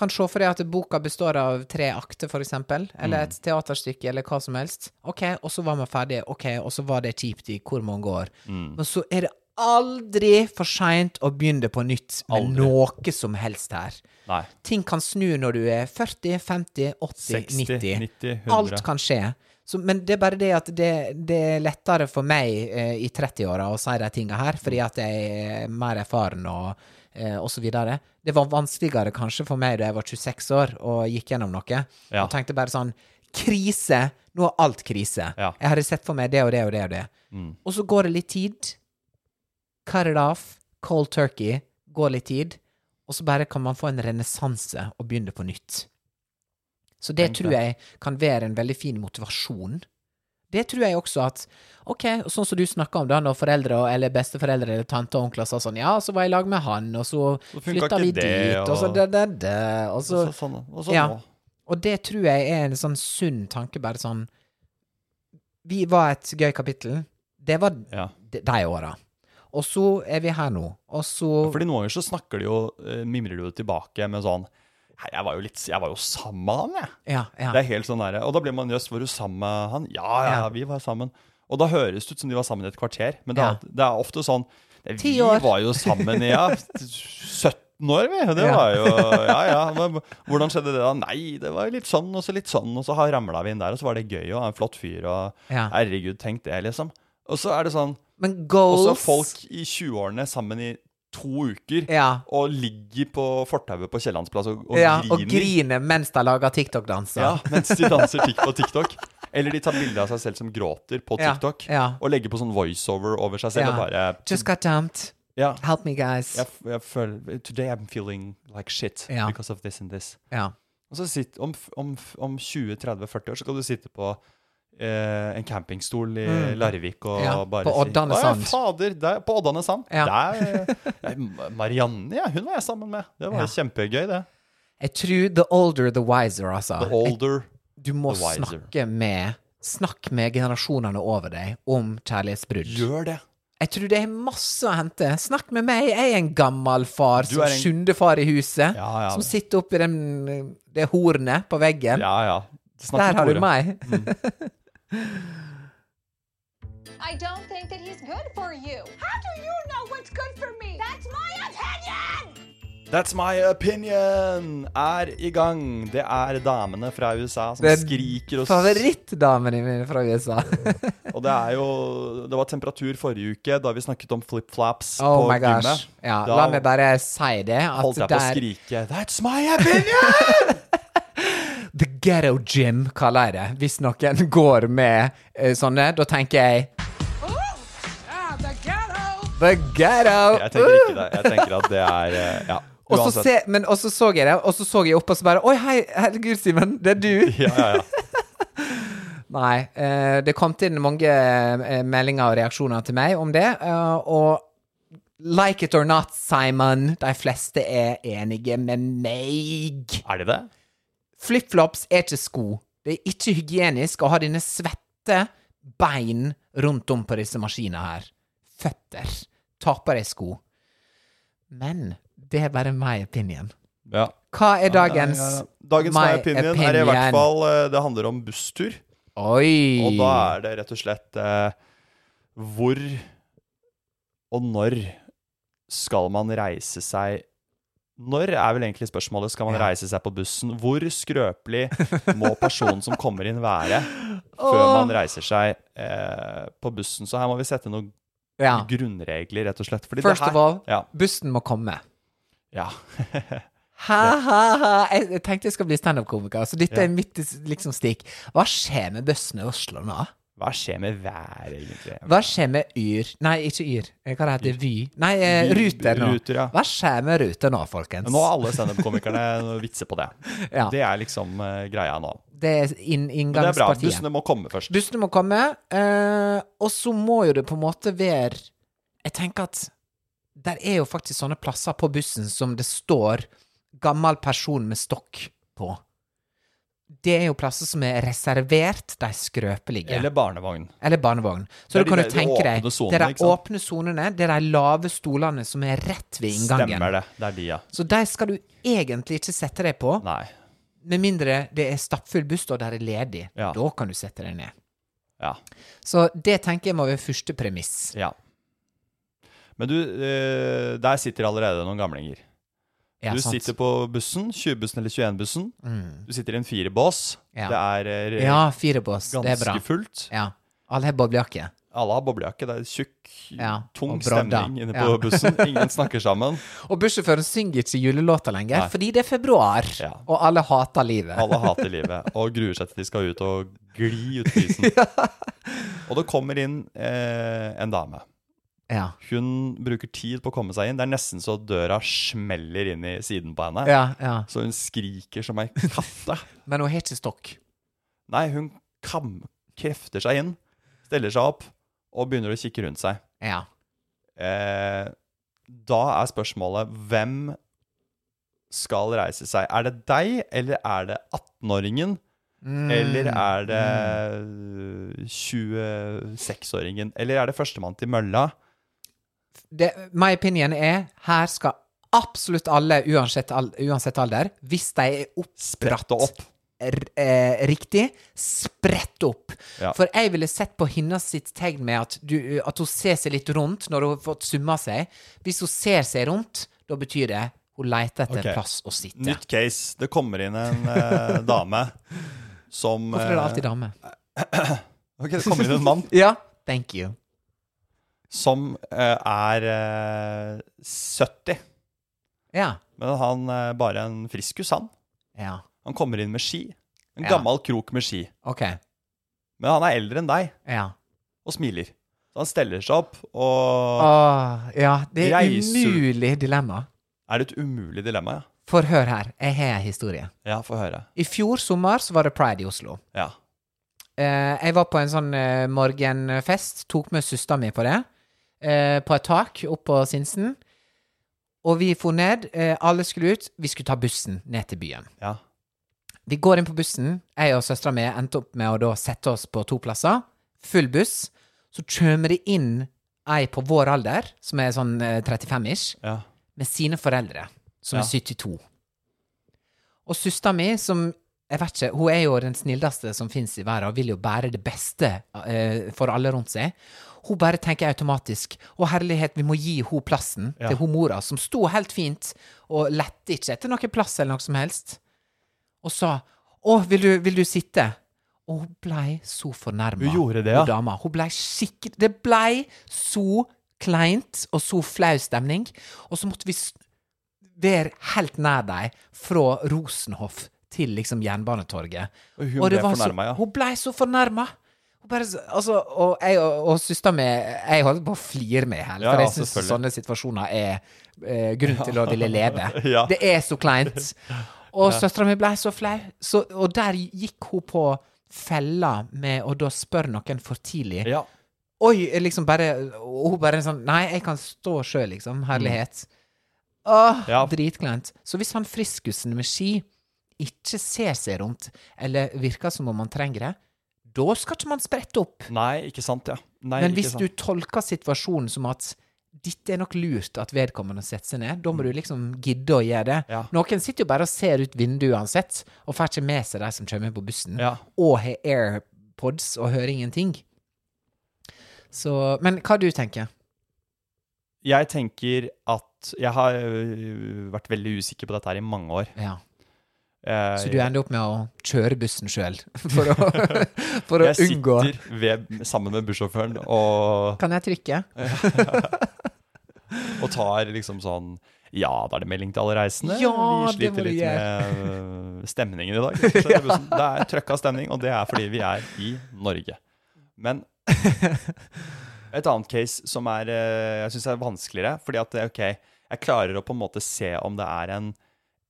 Speaker 1: kan se for deg at boka består av tre akter, for eksempel, eller et teaterstykke, eller hva som helst. Ok, og så var man ferdig, ok, og så var det kjipt i hvor mange år. Men så er det aldri for seint å begynne på nytt med noe som helst her.
Speaker 2: Nei.
Speaker 1: Ting kan snu når du er 40, 50, 80,
Speaker 2: 60,
Speaker 1: 90.
Speaker 2: 90, 100.
Speaker 1: Alt kan skje. Så, men det er bare det at det, det er lettere for meg eh, i 30-åra å si de tinga her, fordi at jeg er mer erfaren og, eh, og så videre. Det var vanskeligere kanskje for meg da jeg var 26 år og gikk gjennom noe.
Speaker 2: Ja.
Speaker 1: Og tenkte bare sånn Krise! Nå er alt krise.
Speaker 2: Ja. Mm.
Speaker 1: Jeg hadde sett for meg det og det og det og det. Og så går det litt tid. Cut it off. Cold turkey. Går litt tid. Og så bare kan man få en renessanse og begynne på nytt. Så det
Speaker 2: Tenk
Speaker 1: tror jeg kan være en veldig fin motivasjon. Det tror jeg også at Ok, og sånn som du snakka om da, når foreldre og- eller besteforeldre eller tante og onkler sa sånn Ja, så var jeg i lag med han, og så,
Speaker 2: Så funka
Speaker 1: flytta
Speaker 2: ikke
Speaker 1: vi
Speaker 2: det,
Speaker 1: dit, og så
Speaker 2: og-
Speaker 1: det, det, det, og så
Speaker 2: Og så sånn, og så
Speaker 1: Ja.
Speaker 2: nå.
Speaker 1: og det tror jeg er en sånn sunn tanke, bare sånn Vi var et gøy kapittel. Det var
Speaker 2: Ja.
Speaker 1: de, de åra. Og så er vi her nå, og så
Speaker 2: Fordi noen ganger så snakker de jo, eh, mimrer de jo tilbake med sånn Hei, jeg var jo litt, jeg var jo sammen med han, jeg.
Speaker 1: Ja, ja.
Speaker 2: Det er helt sånn der, Og da blir man jøss, var du sammen med han? Ja, ja,
Speaker 1: Ja.
Speaker 2: vi var sammen. Og da høres det ut som de var sammen i et kvarter, men det,
Speaker 1: Ja.
Speaker 2: er- det er ofte sånn det,
Speaker 1: Ti
Speaker 2: Vi
Speaker 1: år.
Speaker 2: var jo sammen i
Speaker 1: *laughs*
Speaker 2: ja, 17 år, vi. Det
Speaker 1: Ja.
Speaker 2: var jo Ja, ja. men Hvordan skjedde det da? Nei, det var jo litt sånn og så litt sånn, og så har- ramla vi inn der, og så var det gøy og en flott fyr, og
Speaker 1: Ja.
Speaker 2: herregud, tenk det, liksom. Og så er det sånn
Speaker 1: Men
Speaker 2: Og
Speaker 1: goals
Speaker 2: så er folk i 20-årene sammen i to uker
Speaker 1: Ja.
Speaker 2: og ligger på fortauet på Kiellands plass og, og
Speaker 1: ja, og
Speaker 2: griner.
Speaker 1: griner mens de lager TikTok-danser.
Speaker 2: Ja, mens de danser tik på TikTok. Eller de tar bilde av seg selv som gråter på
Speaker 1: Ja,
Speaker 2: TikTok.
Speaker 1: ja.
Speaker 2: Og legger på sånn voiceover over seg selv
Speaker 1: Ja.
Speaker 2: og bare
Speaker 1: Just got dumped.
Speaker 2: Ja.
Speaker 1: Help me, guys.
Speaker 2: Jeg, f- jeg føler Today I'm feeling like shit
Speaker 1: Ja.
Speaker 2: because of this and this.
Speaker 1: Ja.
Speaker 2: Og så sitt, om, f- om, f- om 20-30-40 år så skal du sitte på eh, en campingstol i Larvik og
Speaker 1: Mm. Ja,
Speaker 2: bare
Speaker 1: på Oddane
Speaker 2: si
Speaker 1: Sand."
Speaker 2: «Å, fader, der, på Oddane Sand.
Speaker 1: Ja.
Speaker 2: Der, eh, Marianne, ja, hun var jeg sammen med. Det var
Speaker 1: Ja.
Speaker 2: kjempegøy, det.
Speaker 1: Jeg tror the older the wiser, altså.
Speaker 2: The older
Speaker 1: du må
Speaker 2: the wiser.
Speaker 1: snakke med Snakk med generasjonene over deg om kjærlighetsbrudd.
Speaker 2: Gjør det.
Speaker 1: Jeg tror det er masse å hente. Snakk med meg, jeg er en gammel far
Speaker 2: Du
Speaker 1: som
Speaker 2: er en-
Speaker 1: sjuende far i huset.
Speaker 2: Ja, ja.
Speaker 1: Som sitter oppi den, det hornet på veggen.
Speaker 2: Ja, Mm. ja.
Speaker 1: Der
Speaker 2: Snakk med
Speaker 1: har
Speaker 2: Tore.
Speaker 1: du meg.
Speaker 4: I don't think that he's good for you. How do you know what's good for me? That's my opinion!
Speaker 2: That's my opinion er i gang. Det er damene fra USA som
Speaker 1: *laughs* Det er
Speaker 2: skriker og s-
Speaker 1: Favorittdamene mine fra
Speaker 2: *laughs*
Speaker 1: USA.
Speaker 2: Og det er jo Det var temperatur forrige uke da vi snakket om flip-flaps
Speaker 1: Oh
Speaker 2: på
Speaker 1: my gosh.
Speaker 2: gymmet.
Speaker 1: Ja,
Speaker 2: Da
Speaker 1: la meg bare si det. At
Speaker 2: holdt jeg på å
Speaker 1: der
Speaker 2: skrike That's my
Speaker 1: *laughs*
Speaker 2: opinion!
Speaker 1: The Ghetto Gym, kaller jeg det. Hvis noen går med eh, sånne, da tenker jeg
Speaker 4: Ooh! Ah, the ghetto!
Speaker 1: The Ghetto!
Speaker 2: Jeg tenker ikke det. Jeg tenker at det er eh, Ja.
Speaker 1: Og så se, men, og så så jeg det, og så så jeg opp, og så bare Oi, hei, herregud, Simen, det er du!
Speaker 2: *laughs* Ja, ja, ja.
Speaker 1: Nei. eh, det kom inn mange eh, meldinger og reaksjoner til meg om det. eh, og like it or not, Simon, de fleste er enige med meg.
Speaker 2: Er det det?
Speaker 1: Flipflops er ikke sko. Det er ikke hygienisk å ha dine svette bein rundt om på disse maskinene her. Føtter. Ta på deg sko. Men det er bare my opinion.
Speaker 2: Ja.
Speaker 1: Hva er dagens
Speaker 2: Ja, ja. Dagens my, opinion, er i hvert fall eh, Det handler om busstur.
Speaker 1: Oi!
Speaker 2: Og da er det rett og slett eh, Hvor og når skal man reise seg Når er vel egentlig spørsmålet. Skal man reise seg på bussen? Hvor skrøpelig
Speaker 1: *laughs*
Speaker 2: må personen som kommer inn, være før
Speaker 1: Åh.
Speaker 2: man reiser seg eh, på bussen? Så her må vi sette noen
Speaker 1: ja.
Speaker 2: grunnregler, rett og slett. Fordi
Speaker 1: First
Speaker 2: det her,
Speaker 1: of all,
Speaker 2: Ja.
Speaker 1: bussen må komme.
Speaker 2: ja. *laughs*
Speaker 1: Ha-ha-ha! Jeg, jeg tenkte jeg skal bli standup-komiker, så dette er mitt liksom, stikk. Hva skjer med bussen i Oslo nå?
Speaker 2: Hva skjer med været, egentlig?
Speaker 1: Hva skjer med Yr Nei, ikke Yr. Eh, Hva heter det? Vy? Nei, eh,
Speaker 2: Vy-
Speaker 1: Ruter nå.
Speaker 2: Ruter, ja.
Speaker 1: Hva skjer med Ruter nå, folkens? *laughs*
Speaker 2: Nå har alle standup-komikerne vitser på det.
Speaker 1: Ja.
Speaker 2: Det er liksom eh, greia nå.
Speaker 1: Det er inn,
Speaker 2: Men det er bra.
Speaker 1: inngangspartiet.
Speaker 2: Bussene må komme først.
Speaker 1: Bussene må komme, eh, og så må jo det på en måte være Jeg tenker at der er jo faktisk sånne plasser på bussen som det står 'gammel person med stokk' på. Det er jo plasser som er reservert de skrøpelige.
Speaker 2: Eller barnevogn.
Speaker 1: Eller barnevogn. Så
Speaker 2: Det er
Speaker 1: du kan
Speaker 2: de
Speaker 1: jo
Speaker 2: der
Speaker 1: tenke deg
Speaker 2: åpne sonene,
Speaker 1: Det er
Speaker 2: ikke
Speaker 1: de
Speaker 2: sant?
Speaker 1: åpne sonene, det er de lave stolene som er rett ved inngangen.
Speaker 2: Stemmer det. Det er de, ja.
Speaker 1: Så de skal du egentlig ikke sette deg på.
Speaker 2: Nei.
Speaker 1: Med mindre det er stappfull buss og der er ledig.
Speaker 2: Ja.
Speaker 1: Da kan du sette deg ned.
Speaker 2: Ja.
Speaker 1: Så det tenker jeg må være første premiss.
Speaker 2: ja. Men du, eh, der sitter allerede noen gamlinger.
Speaker 1: Ja,
Speaker 2: du
Speaker 1: sant. Mm.
Speaker 2: sitter på bussen, 20-bussen eller 21-bussen. Du sitter i en firebås.
Speaker 1: Ja.
Speaker 2: Det er eh, re-
Speaker 1: Ja, firebås. Det er bra.
Speaker 2: ganske fullt.
Speaker 1: Ja. Alle har boblejakke.
Speaker 2: Alle har boblejakke. Det er tjukk,
Speaker 1: Ja,
Speaker 2: tung
Speaker 1: og brodda.
Speaker 2: stemning inne på
Speaker 1: Ja. *laughs*
Speaker 2: bussen. Ingen snakker sammen.
Speaker 1: Og bussjåføren synger ikke julelåter lenger,
Speaker 2: Nei.
Speaker 1: fordi det er februar,
Speaker 2: Ja.
Speaker 1: og alle hater livet.
Speaker 2: Alle hater livet og gruer seg til de skal ut og gli ut
Speaker 1: *laughs*
Speaker 2: i isen. Og det kommer inn eh, en dame.
Speaker 1: Ja.
Speaker 2: Hun bruker tid på å komme seg inn. Det er nesten så døra smeller inn i siden på henne.
Speaker 1: ja, ja.
Speaker 2: Så hun skriker som ei katte. *laughs*
Speaker 1: Men hun har ikke stokk.
Speaker 2: Nei, hun kam krefter seg inn, steller seg opp og begynner å kikke rundt seg.
Speaker 1: Ja.
Speaker 2: Eh, da er spørsmålet hvem skal reise seg? Er det deg, eller er det 18-åringen? Eller er det øh, 26-åringen? Eller er det førstemann til mølla?
Speaker 1: det, my opinion er her skal absolutt alle, uansett, al uansett alder, hvis de er oppbratt
Speaker 2: Sprette opp.
Speaker 1: r- eh, riktig, sprette opp.
Speaker 2: Ja.
Speaker 1: For jeg ville sett på hennes sitt tegn med at, du, at hun ser seg litt rundt når hun har fått summa seg. Hvis hun ser seg rundt, da betyr det hun leter etter
Speaker 2: Ok.
Speaker 1: plass å sitte.
Speaker 2: Nytt case. Det kommer inn en
Speaker 1: *laughs*
Speaker 2: eh, dame som
Speaker 1: Hvorfor er det alltid dame?
Speaker 2: eh, ok, det kommer inn en mann
Speaker 1: Ja. Thank you.
Speaker 2: som eh, er eh, 70.
Speaker 1: Ja.
Speaker 2: Men han er bare en friskus, han.
Speaker 1: Ja.
Speaker 2: Han kommer inn med ski. En
Speaker 1: Ja.
Speaker 2: gammel krok med ski.
Speaker 1: OK.
Speaker 2: Men han er eldre enn deg,
Speaker 1: Ja.
Speaker 2: og smiler. Så han steller seg opp, og
Speaker 1: Ah. Åh, ja, det er
Speaker 2: Reiser-
Speaker 1: umulig dilemma.
Speaker 2: Er det et umulig dilemma? ja?
Speaker 1: For hør her, jeg har en historie.
Speaker 2: Ja, få høre.
Speaker 1: I fjor sommer så var det pride i Oslo.
Speaker 2: Ja.
Speaker 1: Eh, jeg var på en sånn eh, morgenfest, tok med søstera mi på det, eh, på et tak opp på Sinsen. Og vi for ned, eh, alle skulle ut, vi skulle ta bussen ned til byen.
Speaker 2: ja.
Speaker 1: Vi går inn på bussen, jeg og søstera mi endte opp med å da sette oss på to plasser, full buss. Så kommer det inn ei på vår alder, som er sånn eh, 35-ish,
Speaker 2: Ja.
Speaker 1: med sine foreldre, som
Speaker 2: Ja.
Speaker 1: er 72. Og søstera mi, som jeg vet ikke, hun er jo den snilleste som fins i verden, og vil jo bære det beste eh, for alle rundt seg. Hun bare tenker automatisk Å herlighet, vi må gi hun plassen til hun mora, som sto helt fint og lette ikke etter noen plass eller noe som helst, og sa Å, vil du, vil du sitte? Og hun blei så fornærma.
Speaker 2: Hun gjorde det, ja.
Speaker 1: Hun dama. Hun blei skikkelig Det blei så kleint og så flau stemning, og så måtte vi s- være helt nær deg fra Rosenhoff til liksom Jernbanetorget.
Speaker 2: Og hun ble
Speaker 1: var
Speaker 2: fornærmet, ja.
Speaker 1: så, Hun blei så fornærma! Hun bare s- Altså, og jeg og, og søstera mi Jeg holdt på å flire med henne,
Speaker 2: Ja,
Speaker 1: for
Speaker 2: ja,
Speaker 1: jeg syns
Speaker 2: selvfølgelig.
Speaker 1: sånne situasjoner er eh, grunn til å ville leve.
Speaker 2: *laughs* Ja.
Speaker 1: Det er så kleint. Og søstera mi blei så flau. Så, og der gikk hun på fella med å da spørre noen for tidlig.
Speaker 2: ja.
Speaker 1: Oi, liksom bare Og hun bare sånn Nei, jeg kan stå sjøl, liksom. Herlighet. Åh,
Speaker 2: Mm. Ja.
Speaker 1: dritkleint. Så hvis han friskusen med ski ikke ser seg rundt, eller virker som om han trenger det, da skal ikke man sprette opp.
Speaker 2: Nei, ikke sant, ja. Nei,
Speaker 1: Men
Speaker 2: ikke
Speaker 1: hvis
Speaker 2: sant.
Speaker 1: du tolker situasjonen som at dette er nok lurt at vedkommende setter seg ned, da må du liksom gidde å gjøre det.
Speaker 2: Mm. Ja.
Speaker 1: Noen sitter jo bare og ser ut vinduet uansett, og får ikke med seg de som kommer på bussen,
Speaker 2: Ja.
Speaker 1: og har AirPods og hører ingenting. Så Men hva du tenker
Speaker 2: Jeg tenker at Jeg har øh, vært veldig usikker på dette her i mange år.
Speaker 1: Ja.
Speaker 2: Eh,
Speaker 1: Så du ender opp med å kjøre bussen sjøl *laughs* for
Speaker 2: *laughs*
Speaker 1: å, for å
Speaker 2: jeg
Speaker 1: unngå
Speaker 2: sitter ved, sammen med bussjåføren og,
Speaker 1: Kan jeg trykke?
Speaker 2: og tar liksom sånn Ja, da er det melding til alle reisende.
Speaker 1: Ja,
Speaker 2: vi
Speaker 1: det må
Speaker 2: sliter
Speaker 1: du
Speaker 2: litt
Speaker 1: gjøre.
Speaker 2: med øh, stemningen i dag. rett og slett, i bussen. Det er trøkka stemning, og det er fordi vi er i Norge.
Speaker 1: *laughs*
Speaker 2: Men et annet case som er, øh, jeg syns er vanskeligere, fordi eh, at ok, jeg klarer å på en måte se om det er en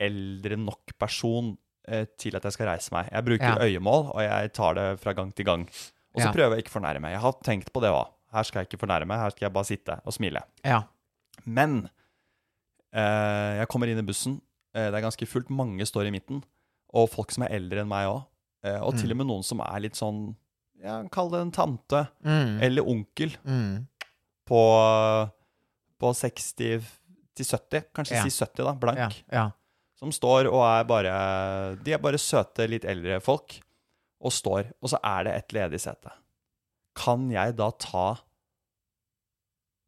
Speaker 2: eldre nok person eh, til at jeg skal reise meg. Jeg bruker
Speaker 1: Ja.
Speaker 2: øyemål, og jeg tar det fra gang til gang. Og så
Speaker 1: Ja.
Speaker 2: prøver jeg ikke å fornærme. Jeg har tenkt på det òg. Her skal jeg ikke fornærme, her skal jeg bare sitte og smile.
Speaker 1: Ja.
Speaker 2: Men eh, jeg kommer inn i bussen. Eh, det er ganske fullt. Mange står i midten. Og folk som er eldre enn meg òg. Eh, og til og med noen som er litt sånn ja, Kall det en tante
Speaker 1: Mm.
Speaker 2: eller onkel
Speaker 1: Mm.
Speaker 2: på, på 60 til 70. Kanskje
Speaker 1: Ja.
Speaker 2: si 70, da. Blank.
Speaker 1: Ja. ja.
Speaker 2: Som står og er bare De er bare søte, litt eldre folk. Og står. Og så er det et ledig sete. Kan jeg da ta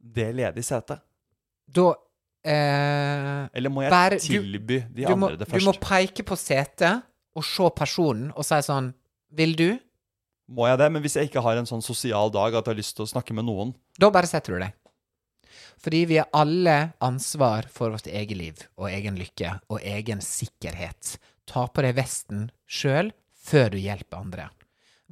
Speaker 2: det ledige setet?
Speaker 1: Da eh,
Speaker 2: Eller må jeg
Speaker 1: Bare- du-
Speaker 2: tilby de
Speaker 1: du, må,
Speaker 2: andre det
Speaker 1: du må
Speaker 2: først?
Speaker 1: peke på setet og se personen og si sånn Vil du?
Speaker 2: Må jeg det? Men hvis jeg ikke har en sånn sosial dag at jeg har lyst til å snakke med noen
Speaker 1: Da bare setter du deg. Fordi vi har alle ansvar for vårt eget liv og egen lykke og egen sikkerhet. Ta på deg vesten sjøl før du hjelper andre.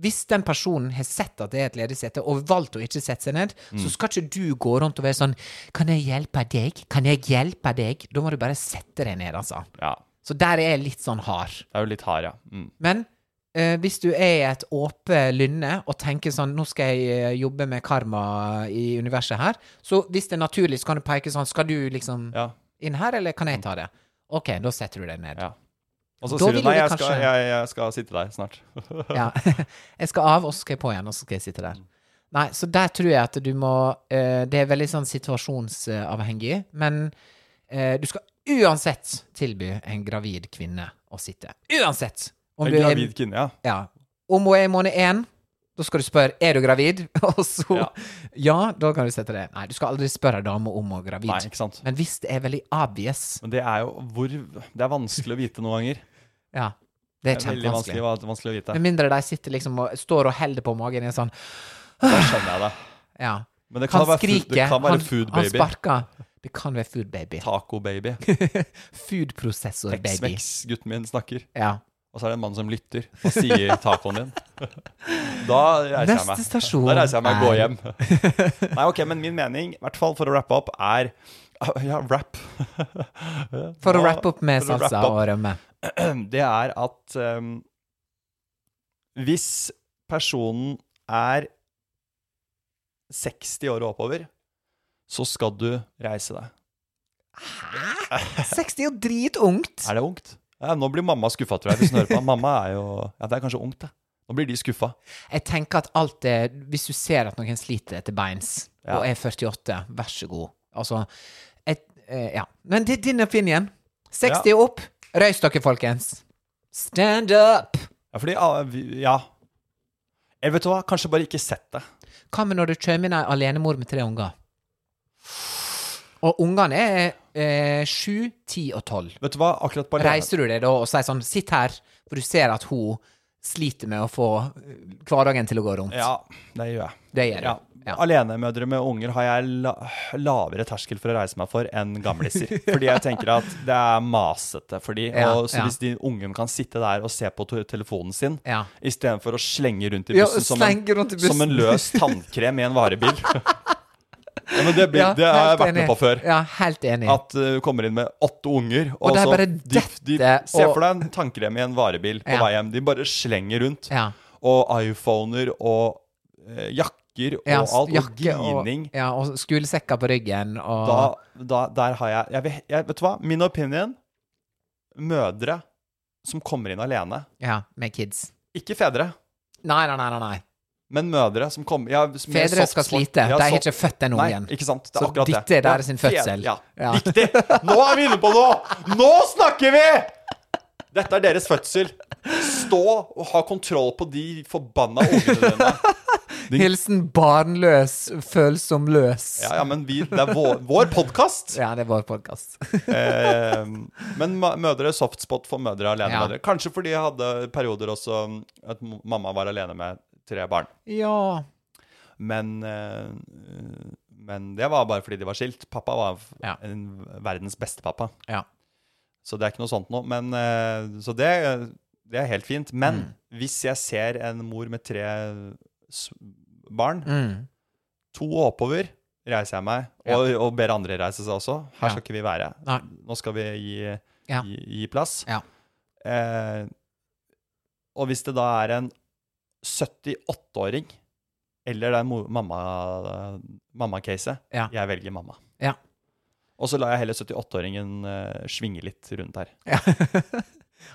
Speaker 1: Hvis den personen har sett at det er et ledig sete, og valgt å ikke sette seg ned, så skal ikke du gå rundt og være sånn Kan jeg hjelpe deg? Kan jeg hjelpe deg? Da må du bare sette deg ned, altså.
Speaker 2: Ja,
Speaker 1: Så der er jeg litt sånn hard.
Speaker 2: det er jo litt hard, ja. Mm.
Speaker 1: Men eh, hvis du er i et åpent lynne og tenker sånn Nå skal jeg eh, jobbe med karma i universet her. Så hvis det er naturlig, så kan du peke sånn Skal du liksom
Speaker 2: ja,
Speaker 1: inn her, eller kan jeg ta det? OK, da setter du deg ned.
Speaker 2: ja. Og så
Speaker 1: Da
Speaker 2: sier
Speaker 1: vil
Speaker 2: du
Speaker 1: jo
Speaker 2: nei,
Speaker 1: det
Speaker 2: jeg skal,
Speaker 1: kanskje-
Speaker 2: jeg, jeg skal sitte der snart.
Speaker 1: Ja. *laughs* jeg skal av, og så skal jeg på igjen, og så skal jeg sitte
Speaker 2: Mm.
Speaker 1: der. Nei, så der tror jeg at du må eh, Det er veldig sånn situasjonsavhengig, men eh, du skal uansett tilby en gravid kvinne å sitte. Uansett!
Speaker 2: En
Speaker 1: du er-
Speaker 2: gravid kvinne, ja.
Speaker 1: Ja. Om hun er i måned én, da skal du spørre er du gravid, *laughs* og så ja.
Speaker 2: Ja.
Speaker 1: da kan du sette det. Nei, du skal aldri spørre ei dame om hun er gravid.
Speaker 2: Nei, ikke sant.
Speaker 1: Men hvis det er veldig obvious
Speaker 2: Men det er jo hvor Det er vanskelig å vite noen ganger.
Speaker 1: Ja, det er
Speaker 2: Det er veldig vanskelig,
Speaker 1: kjempevanskelig.
Speaker 2: vanskelig å vite.
Speaker 1: Med mindre de sitter liksom og står og holder på magen i en sånn
Speaker 2: Da skjønner jeg det.
Speaker 1: Ja.
Speaker 2: Men det kan
Speaker 1: Han
Speaker 2: være food,
Speaker 1: skriker.
Speaker 2: det kan være
Speaker 1: han,
Speaker 2: food
Speaker 1: han
Speaker 2: baby.
Speaker 1: sparker. Det kan være food baby.
Speaker 2: Taco baby.
Speaker 1: *laughs* Food processor baby.
Speaker 2: Tex-Mex-gutten min snakker,
Speaker 1: Ja.
Speaker 2: og så er det en mann som lytter og sier tacoen
Speaker 1: *laughs*
Speaker 2: din. Da reiser jeg meg.
Speaker 1: Neste stasjon
Speaker 2: Da reiser jeg meg og går
Speaker 1: er-
Speaker 2: hjem.
Speaker 1: *laughs*
Speaker 2: Nei, ok, men min mening, i hvert fall for å rappe opp, er *laughs* Ja,
Speaker 1: *laughs*
Speaker 2: rap.
Speaker 1: For å
Speaker 2: Hva-
Speaker 1: wrappe opp med
Speaker 2: for å wrappe
Speaker 1: salsa
Speaker 2: opp.
Speaker 1: og rømme.
Speaker 2: *clears throat* det er at ehm, hvis personen er 60 år og oppover, så skal du reise deg.
Speaker 1: Hæ? 60 er jo dritungt!
Speaker 2: Er det ungt? Ja, nå blir mamma skuffa, tror jeg. Hvis hun hører
Speaker 1: *laughs*
Speaker 2: på. Mamma er jo Ja, det er kanskje ungt, det. Nå blir de skuffa.
Speaker 1: Jeg tenker at alt det Hvis du ser at noen sliter etter beins,
Speaker 2: Ja.
Speaker 1: og er 48, vær så god. Altså et, eh, Ja. Men det er din opinion. 60 opp. Røys dere, folkens. Stand up!
Speaker 2: Ja, fordi ah, vi- Ja. Eller vet du hva, kanskje bare ikke sett det.
Speaker 1: Hva med når du kommer inn ei alenemor med tre unger? Og ungene er eh, 7, 10 og 12.
Speaker 2: Vet du hva, akkurat på alene-
Speaker 1: Reiser du deg da og sier sånn Sitt her, for du ser at hun sliter med å få eh, hverdagen til å gå rundt.
Speaker 2: Ja, det gjør jeg.
Speaker 1: Det gjør du.
Speaker 2: Ja.
Speaker 1: Ja.
Speaker 2: Alenemødre med unger har jeg la lavere terskel for å reise meg for enn
Speaker 1: *laughs*
Speaker 2: gamliser. Fordi jeg tenker at det er masete for de.
Speaker 1: Ja,
Speaker 2: og så
Speaker 1: ja.
Speaker 2: hvis de ungen kan sitte der og se på to- telefonen sin,
Speaker 1: Ja.
Speaker 2: istedenfor å slenge rundt i
Speaker 1: Ja,
Speaker 2: bussen, som, en,
Speaker 1: slenge rundt i bussen.
Speaker 2: som en løs tannkrem i en varebil
Speaker 1: *laughs*
Speaker 2: ja, men det, blir,
Speaker 1: Ja,
Speaker 2: det har jeg
Speaker 1: helt
Speaker 2: vært med
Speaker 1: enig.
Speaker 2: på før.
Speaker 1: Ja, helt enig.
Speaker 2: At uh, du kommer inn med åtte unger, og,
Speaker 1: Og det er
Speaker 2: så
Speaker 1: bare
Speaker 2: de, de,
Speaker 1: dette,
Speaker 2: Se
Speaker 1: og-
Speaker 2: for deg en tannkrem i en varebil på
Speaker 1: Ja.
Speaker 2: vei hjem. De bare slenger rundt.
Speaker 1: Ja.
Speaker 2: Og iPhoner og eh, jakker og
Speaker 1: Ja,
Speaker 2: alt. Og
Speaker 1: jakke og-
Speaker 2: grining.
Speaker 1: ja, og skolesekker på ryggen og
Speaker 2: Da, da, der har jeg, jeg, vet- jeg Vet du hva? Min opinion Mødre som kommer inn alene.
Speaker 1: Ja, med kids.
Speaker 2: Ikke fedre,
Speaker 1: Nei, nei, nei. nei, nei.
Speaker 2: men mødre som kommer ja, med
Speaker 1: Fedre
Speaker 2: soft
Speaker 1: skal
Speaker 2: spot.
Speaker 1: slite.
Speaker 2: Ja,
Speaker 1: De har
Speaker 2: soft-
Speaker 1: ikke født den ungen.
Speaker 2: Nei, ikke sant. Det er
Speaker 1: Så
Speaker 2: akkurat det.
Speaker 1: dette er
Speaker 2: Ja,
Speaker 1: deres sin fødsel.
Speaker 2: fed- Ja,
Speaker 1: Ja.
Speaker 2: riktig. Nå er vi inne på noe! Nå snakker vi! Dette er deres fødsel. Stå og ha kontroll på de forbanna ungene dine.
Speaker 1: Hilsen barnløs, følsom løs.
Speaker 2: Ja, ja, men vi, det er vår, vår podkast.
Speaker 1: Ja, det er vår podkast.
Speaker 2: Eh, men ma- mødre, softspot for mødre alene.
Speaker 1: Ja.
Speaker 2: Mødre. Kanskje fordi jeg hadde perioder også mm, at m- mamma var alene med tre barn.
Speaker 1: *laughs* ja.
Speaker 2: Men, eh, men det var bare fordi de var skilt. Pappa var f-
Speaker 1: Ja.
Speaker 2: en verdens beste pappa.
Speaker 1: ja.
Speaker 2: Så det er ikke noe sånt nå. Men, eh, så det, det er helt fint.
Speaker 1: Mm.
Speaker 2: Men hvis jeg ser en mor med tre s- barn,
Speaker 1: Mm.
Speaker 2: to oppover, reiser jeg meg, og, og ber andre reise seg også. Her skal ikke vi være.
Speaker 1: Nei.
Speaker 2: Nå skal vi gi,
Speaker 1: Ja.
Speaker 2: gi, gi plass.
Speaker 1: Ja.
Speaker 2: Eh, og hvis det da er en 78-åring, eller det er mo- mamma- mamma-caset,
Speaker 1: Ja.
Speaker 2: jeg velger mamma.
Speaker 1: Ja. *laughs*
Speaker 2: Og så lar jeg heller 78-åringen eh, svinge litt rundt her.
Speaker 1: Ja.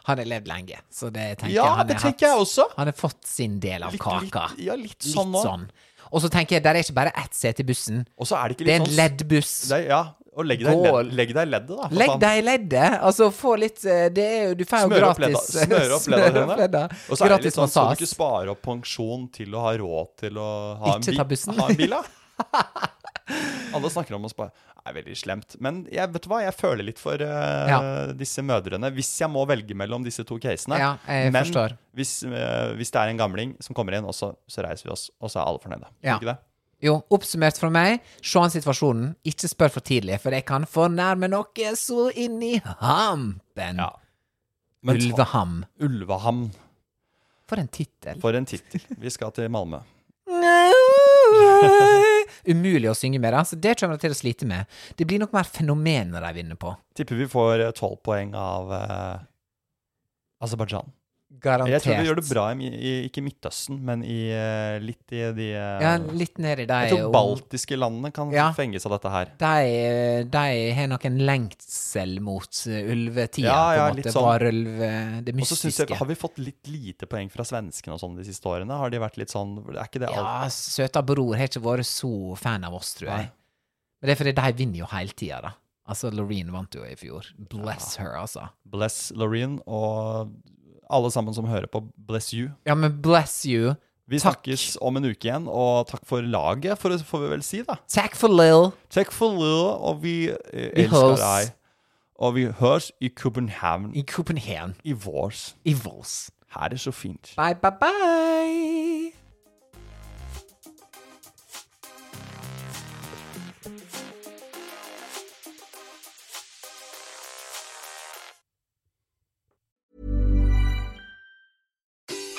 Speaker 1: han har levd lenge, så det tenker
Speaker 2: ja,
Speaker 1: jeg han
Speaker 2: det
Speaker 1: har
Speaker 2: tenker
Speaker 1: hatt-
Speaker 2: jeg også.
Speaker 1: Han har fått sin del av kaka.
Speaker 2: Litt, ja, litt
Speaker 1: Litt
Speaker 2: sånn
Speaker 1: sånn.
Speaker 2: nå.
Speaker 1: Og så tenker jeg, der er ikke bare ett sete i bussen.
Speaker 2: Og så er det ikke
Speaker 1: Det er
Speaker 2: litt
Speaker 1: en
Speaker 2: sånn
Speaker 1: leddbuss.
Speaker 2: Det er- ja, og legg deg i
Speaker 1: Gå-
Speaker 2: ledd- legg deg i leddet, da. for
Speaker 1: Legg
Speaker 2: faen.
Speaker 1: deg i leddet. Altså, få litt eh, Det er jo Du får jo
Speaker 2: Smør opp ledda.
Speaker 1: gratis eh,
Speaker 2: Smør opp ledda dine. Og så er det litt
Speaker 1: Gratis
Speaker 2: sånn så du
Speaker 1: massasje.
Speaker 2: ikke sparer opp pensjon til å ha råd til å ha, en,
Speaker 1: Ikke
Speaker 2: bi
Speaker 1: ta bussen.
Speaker 2: ha en
Speaker 1: *laughs*
Speaker 2: bil. Da. Alle snakker om å spare. Det er veldig slemt. Men jeg, vet du hva, jeg føler litt for eh,
Speaker 1: Ja.
Speaker 2: disse mødrene. Hvis jeg må velge mellom disse to casene.
Speaker 1: Ja, jeg
Speaker 2: men
Speaker 1: forstår.
Speaker 2: Hvis, eh, hvis det er en gamling som kommer inn, og så, så reiser vi oss, og så er alle fornøyde. Er
Speaker 1: Ja.
Speaker 2: Ikke det?
Speaker 1: Jo, oppsummert fra meg, se an situasjonen. Ikke spør for tidlig, for jeg kan fornærme noe så inn i hampen.
Speaker 2: Ja. Men ta-
Speaker 1: Ulveham.
Speaker 2: Ulvehamn,
Speaker 1: For en tittel.
Speaker 2: for en tittel. Vi skal til Malmö.
Speaker 1: *laughs* Umulig å synge med, da, så det kommer jeg til å slite med. Det blir nok mer fenomener de vinner på.
Speaker 2: Tipper vi får eh, tolv poeng av eh, Aserbajdsjan.
Speaker 1: Garantert.
Speaker 2: Jeg tror vi gjør det bra i, i ikke Midtøsten, men i, eh, litt i de eh,
Speaker 1: Ja, litt nedi de
Speaker 2: Jeg tror
Speaker 1: og-
Speaker 2: baltiske landene kan
Speaker 1: Ja.
Speaker 2: fenges av dette her.
Speaker 1: De, de har noen lengsel mot eh, ulvetida,
Speaker 2: Ja, ja,
Speaker 1: på en
Speaker 2: litt
Speaker 1: måte.
Speaker 2: sånn.
Speaker 1: Varulve, det
Speaker 2: Og så synes
Speaker 1: mystiske.
Speaker 2: jeg, Har vi fått litt lite poeng fra svenskene og sånn de siste årene? Har de vært litt sånn Er ikke det alt?
Speaker 1: Ja, søta bror har ikke vært så fan av oss, tror jeg.
Speaker 2: Nei.
Speaker 1: Men det er fordi de vinner jo hele tida, da. Altså, Loreen vant jo i fjor. Bless her, altså.
Speaker 2: Bless Loreen og alle sammen som hører på, bless you.
Speaker 1: Ja, men bless you.
Speaker 2: Vi
Speaker 1: Takk.
Speaker 2: snakkes om en uke igjen, og takk for laget, for, får vi vel si, da.
Speaker 1: Takk for Lil.
Speaker 2: Takk for lure, og vi eh,
Speaker 1: Vi
Speaker 2: elsker
Speaker 1: høres.
Speaker 2: deg. Og vi høres i København
Speaker 1: I Copenhagen.
Speaker 2: i vårs.
Speaker 1: Evils.
Speaker 2: Ha det så fint.
Speaker 1: Bye, bye, bye.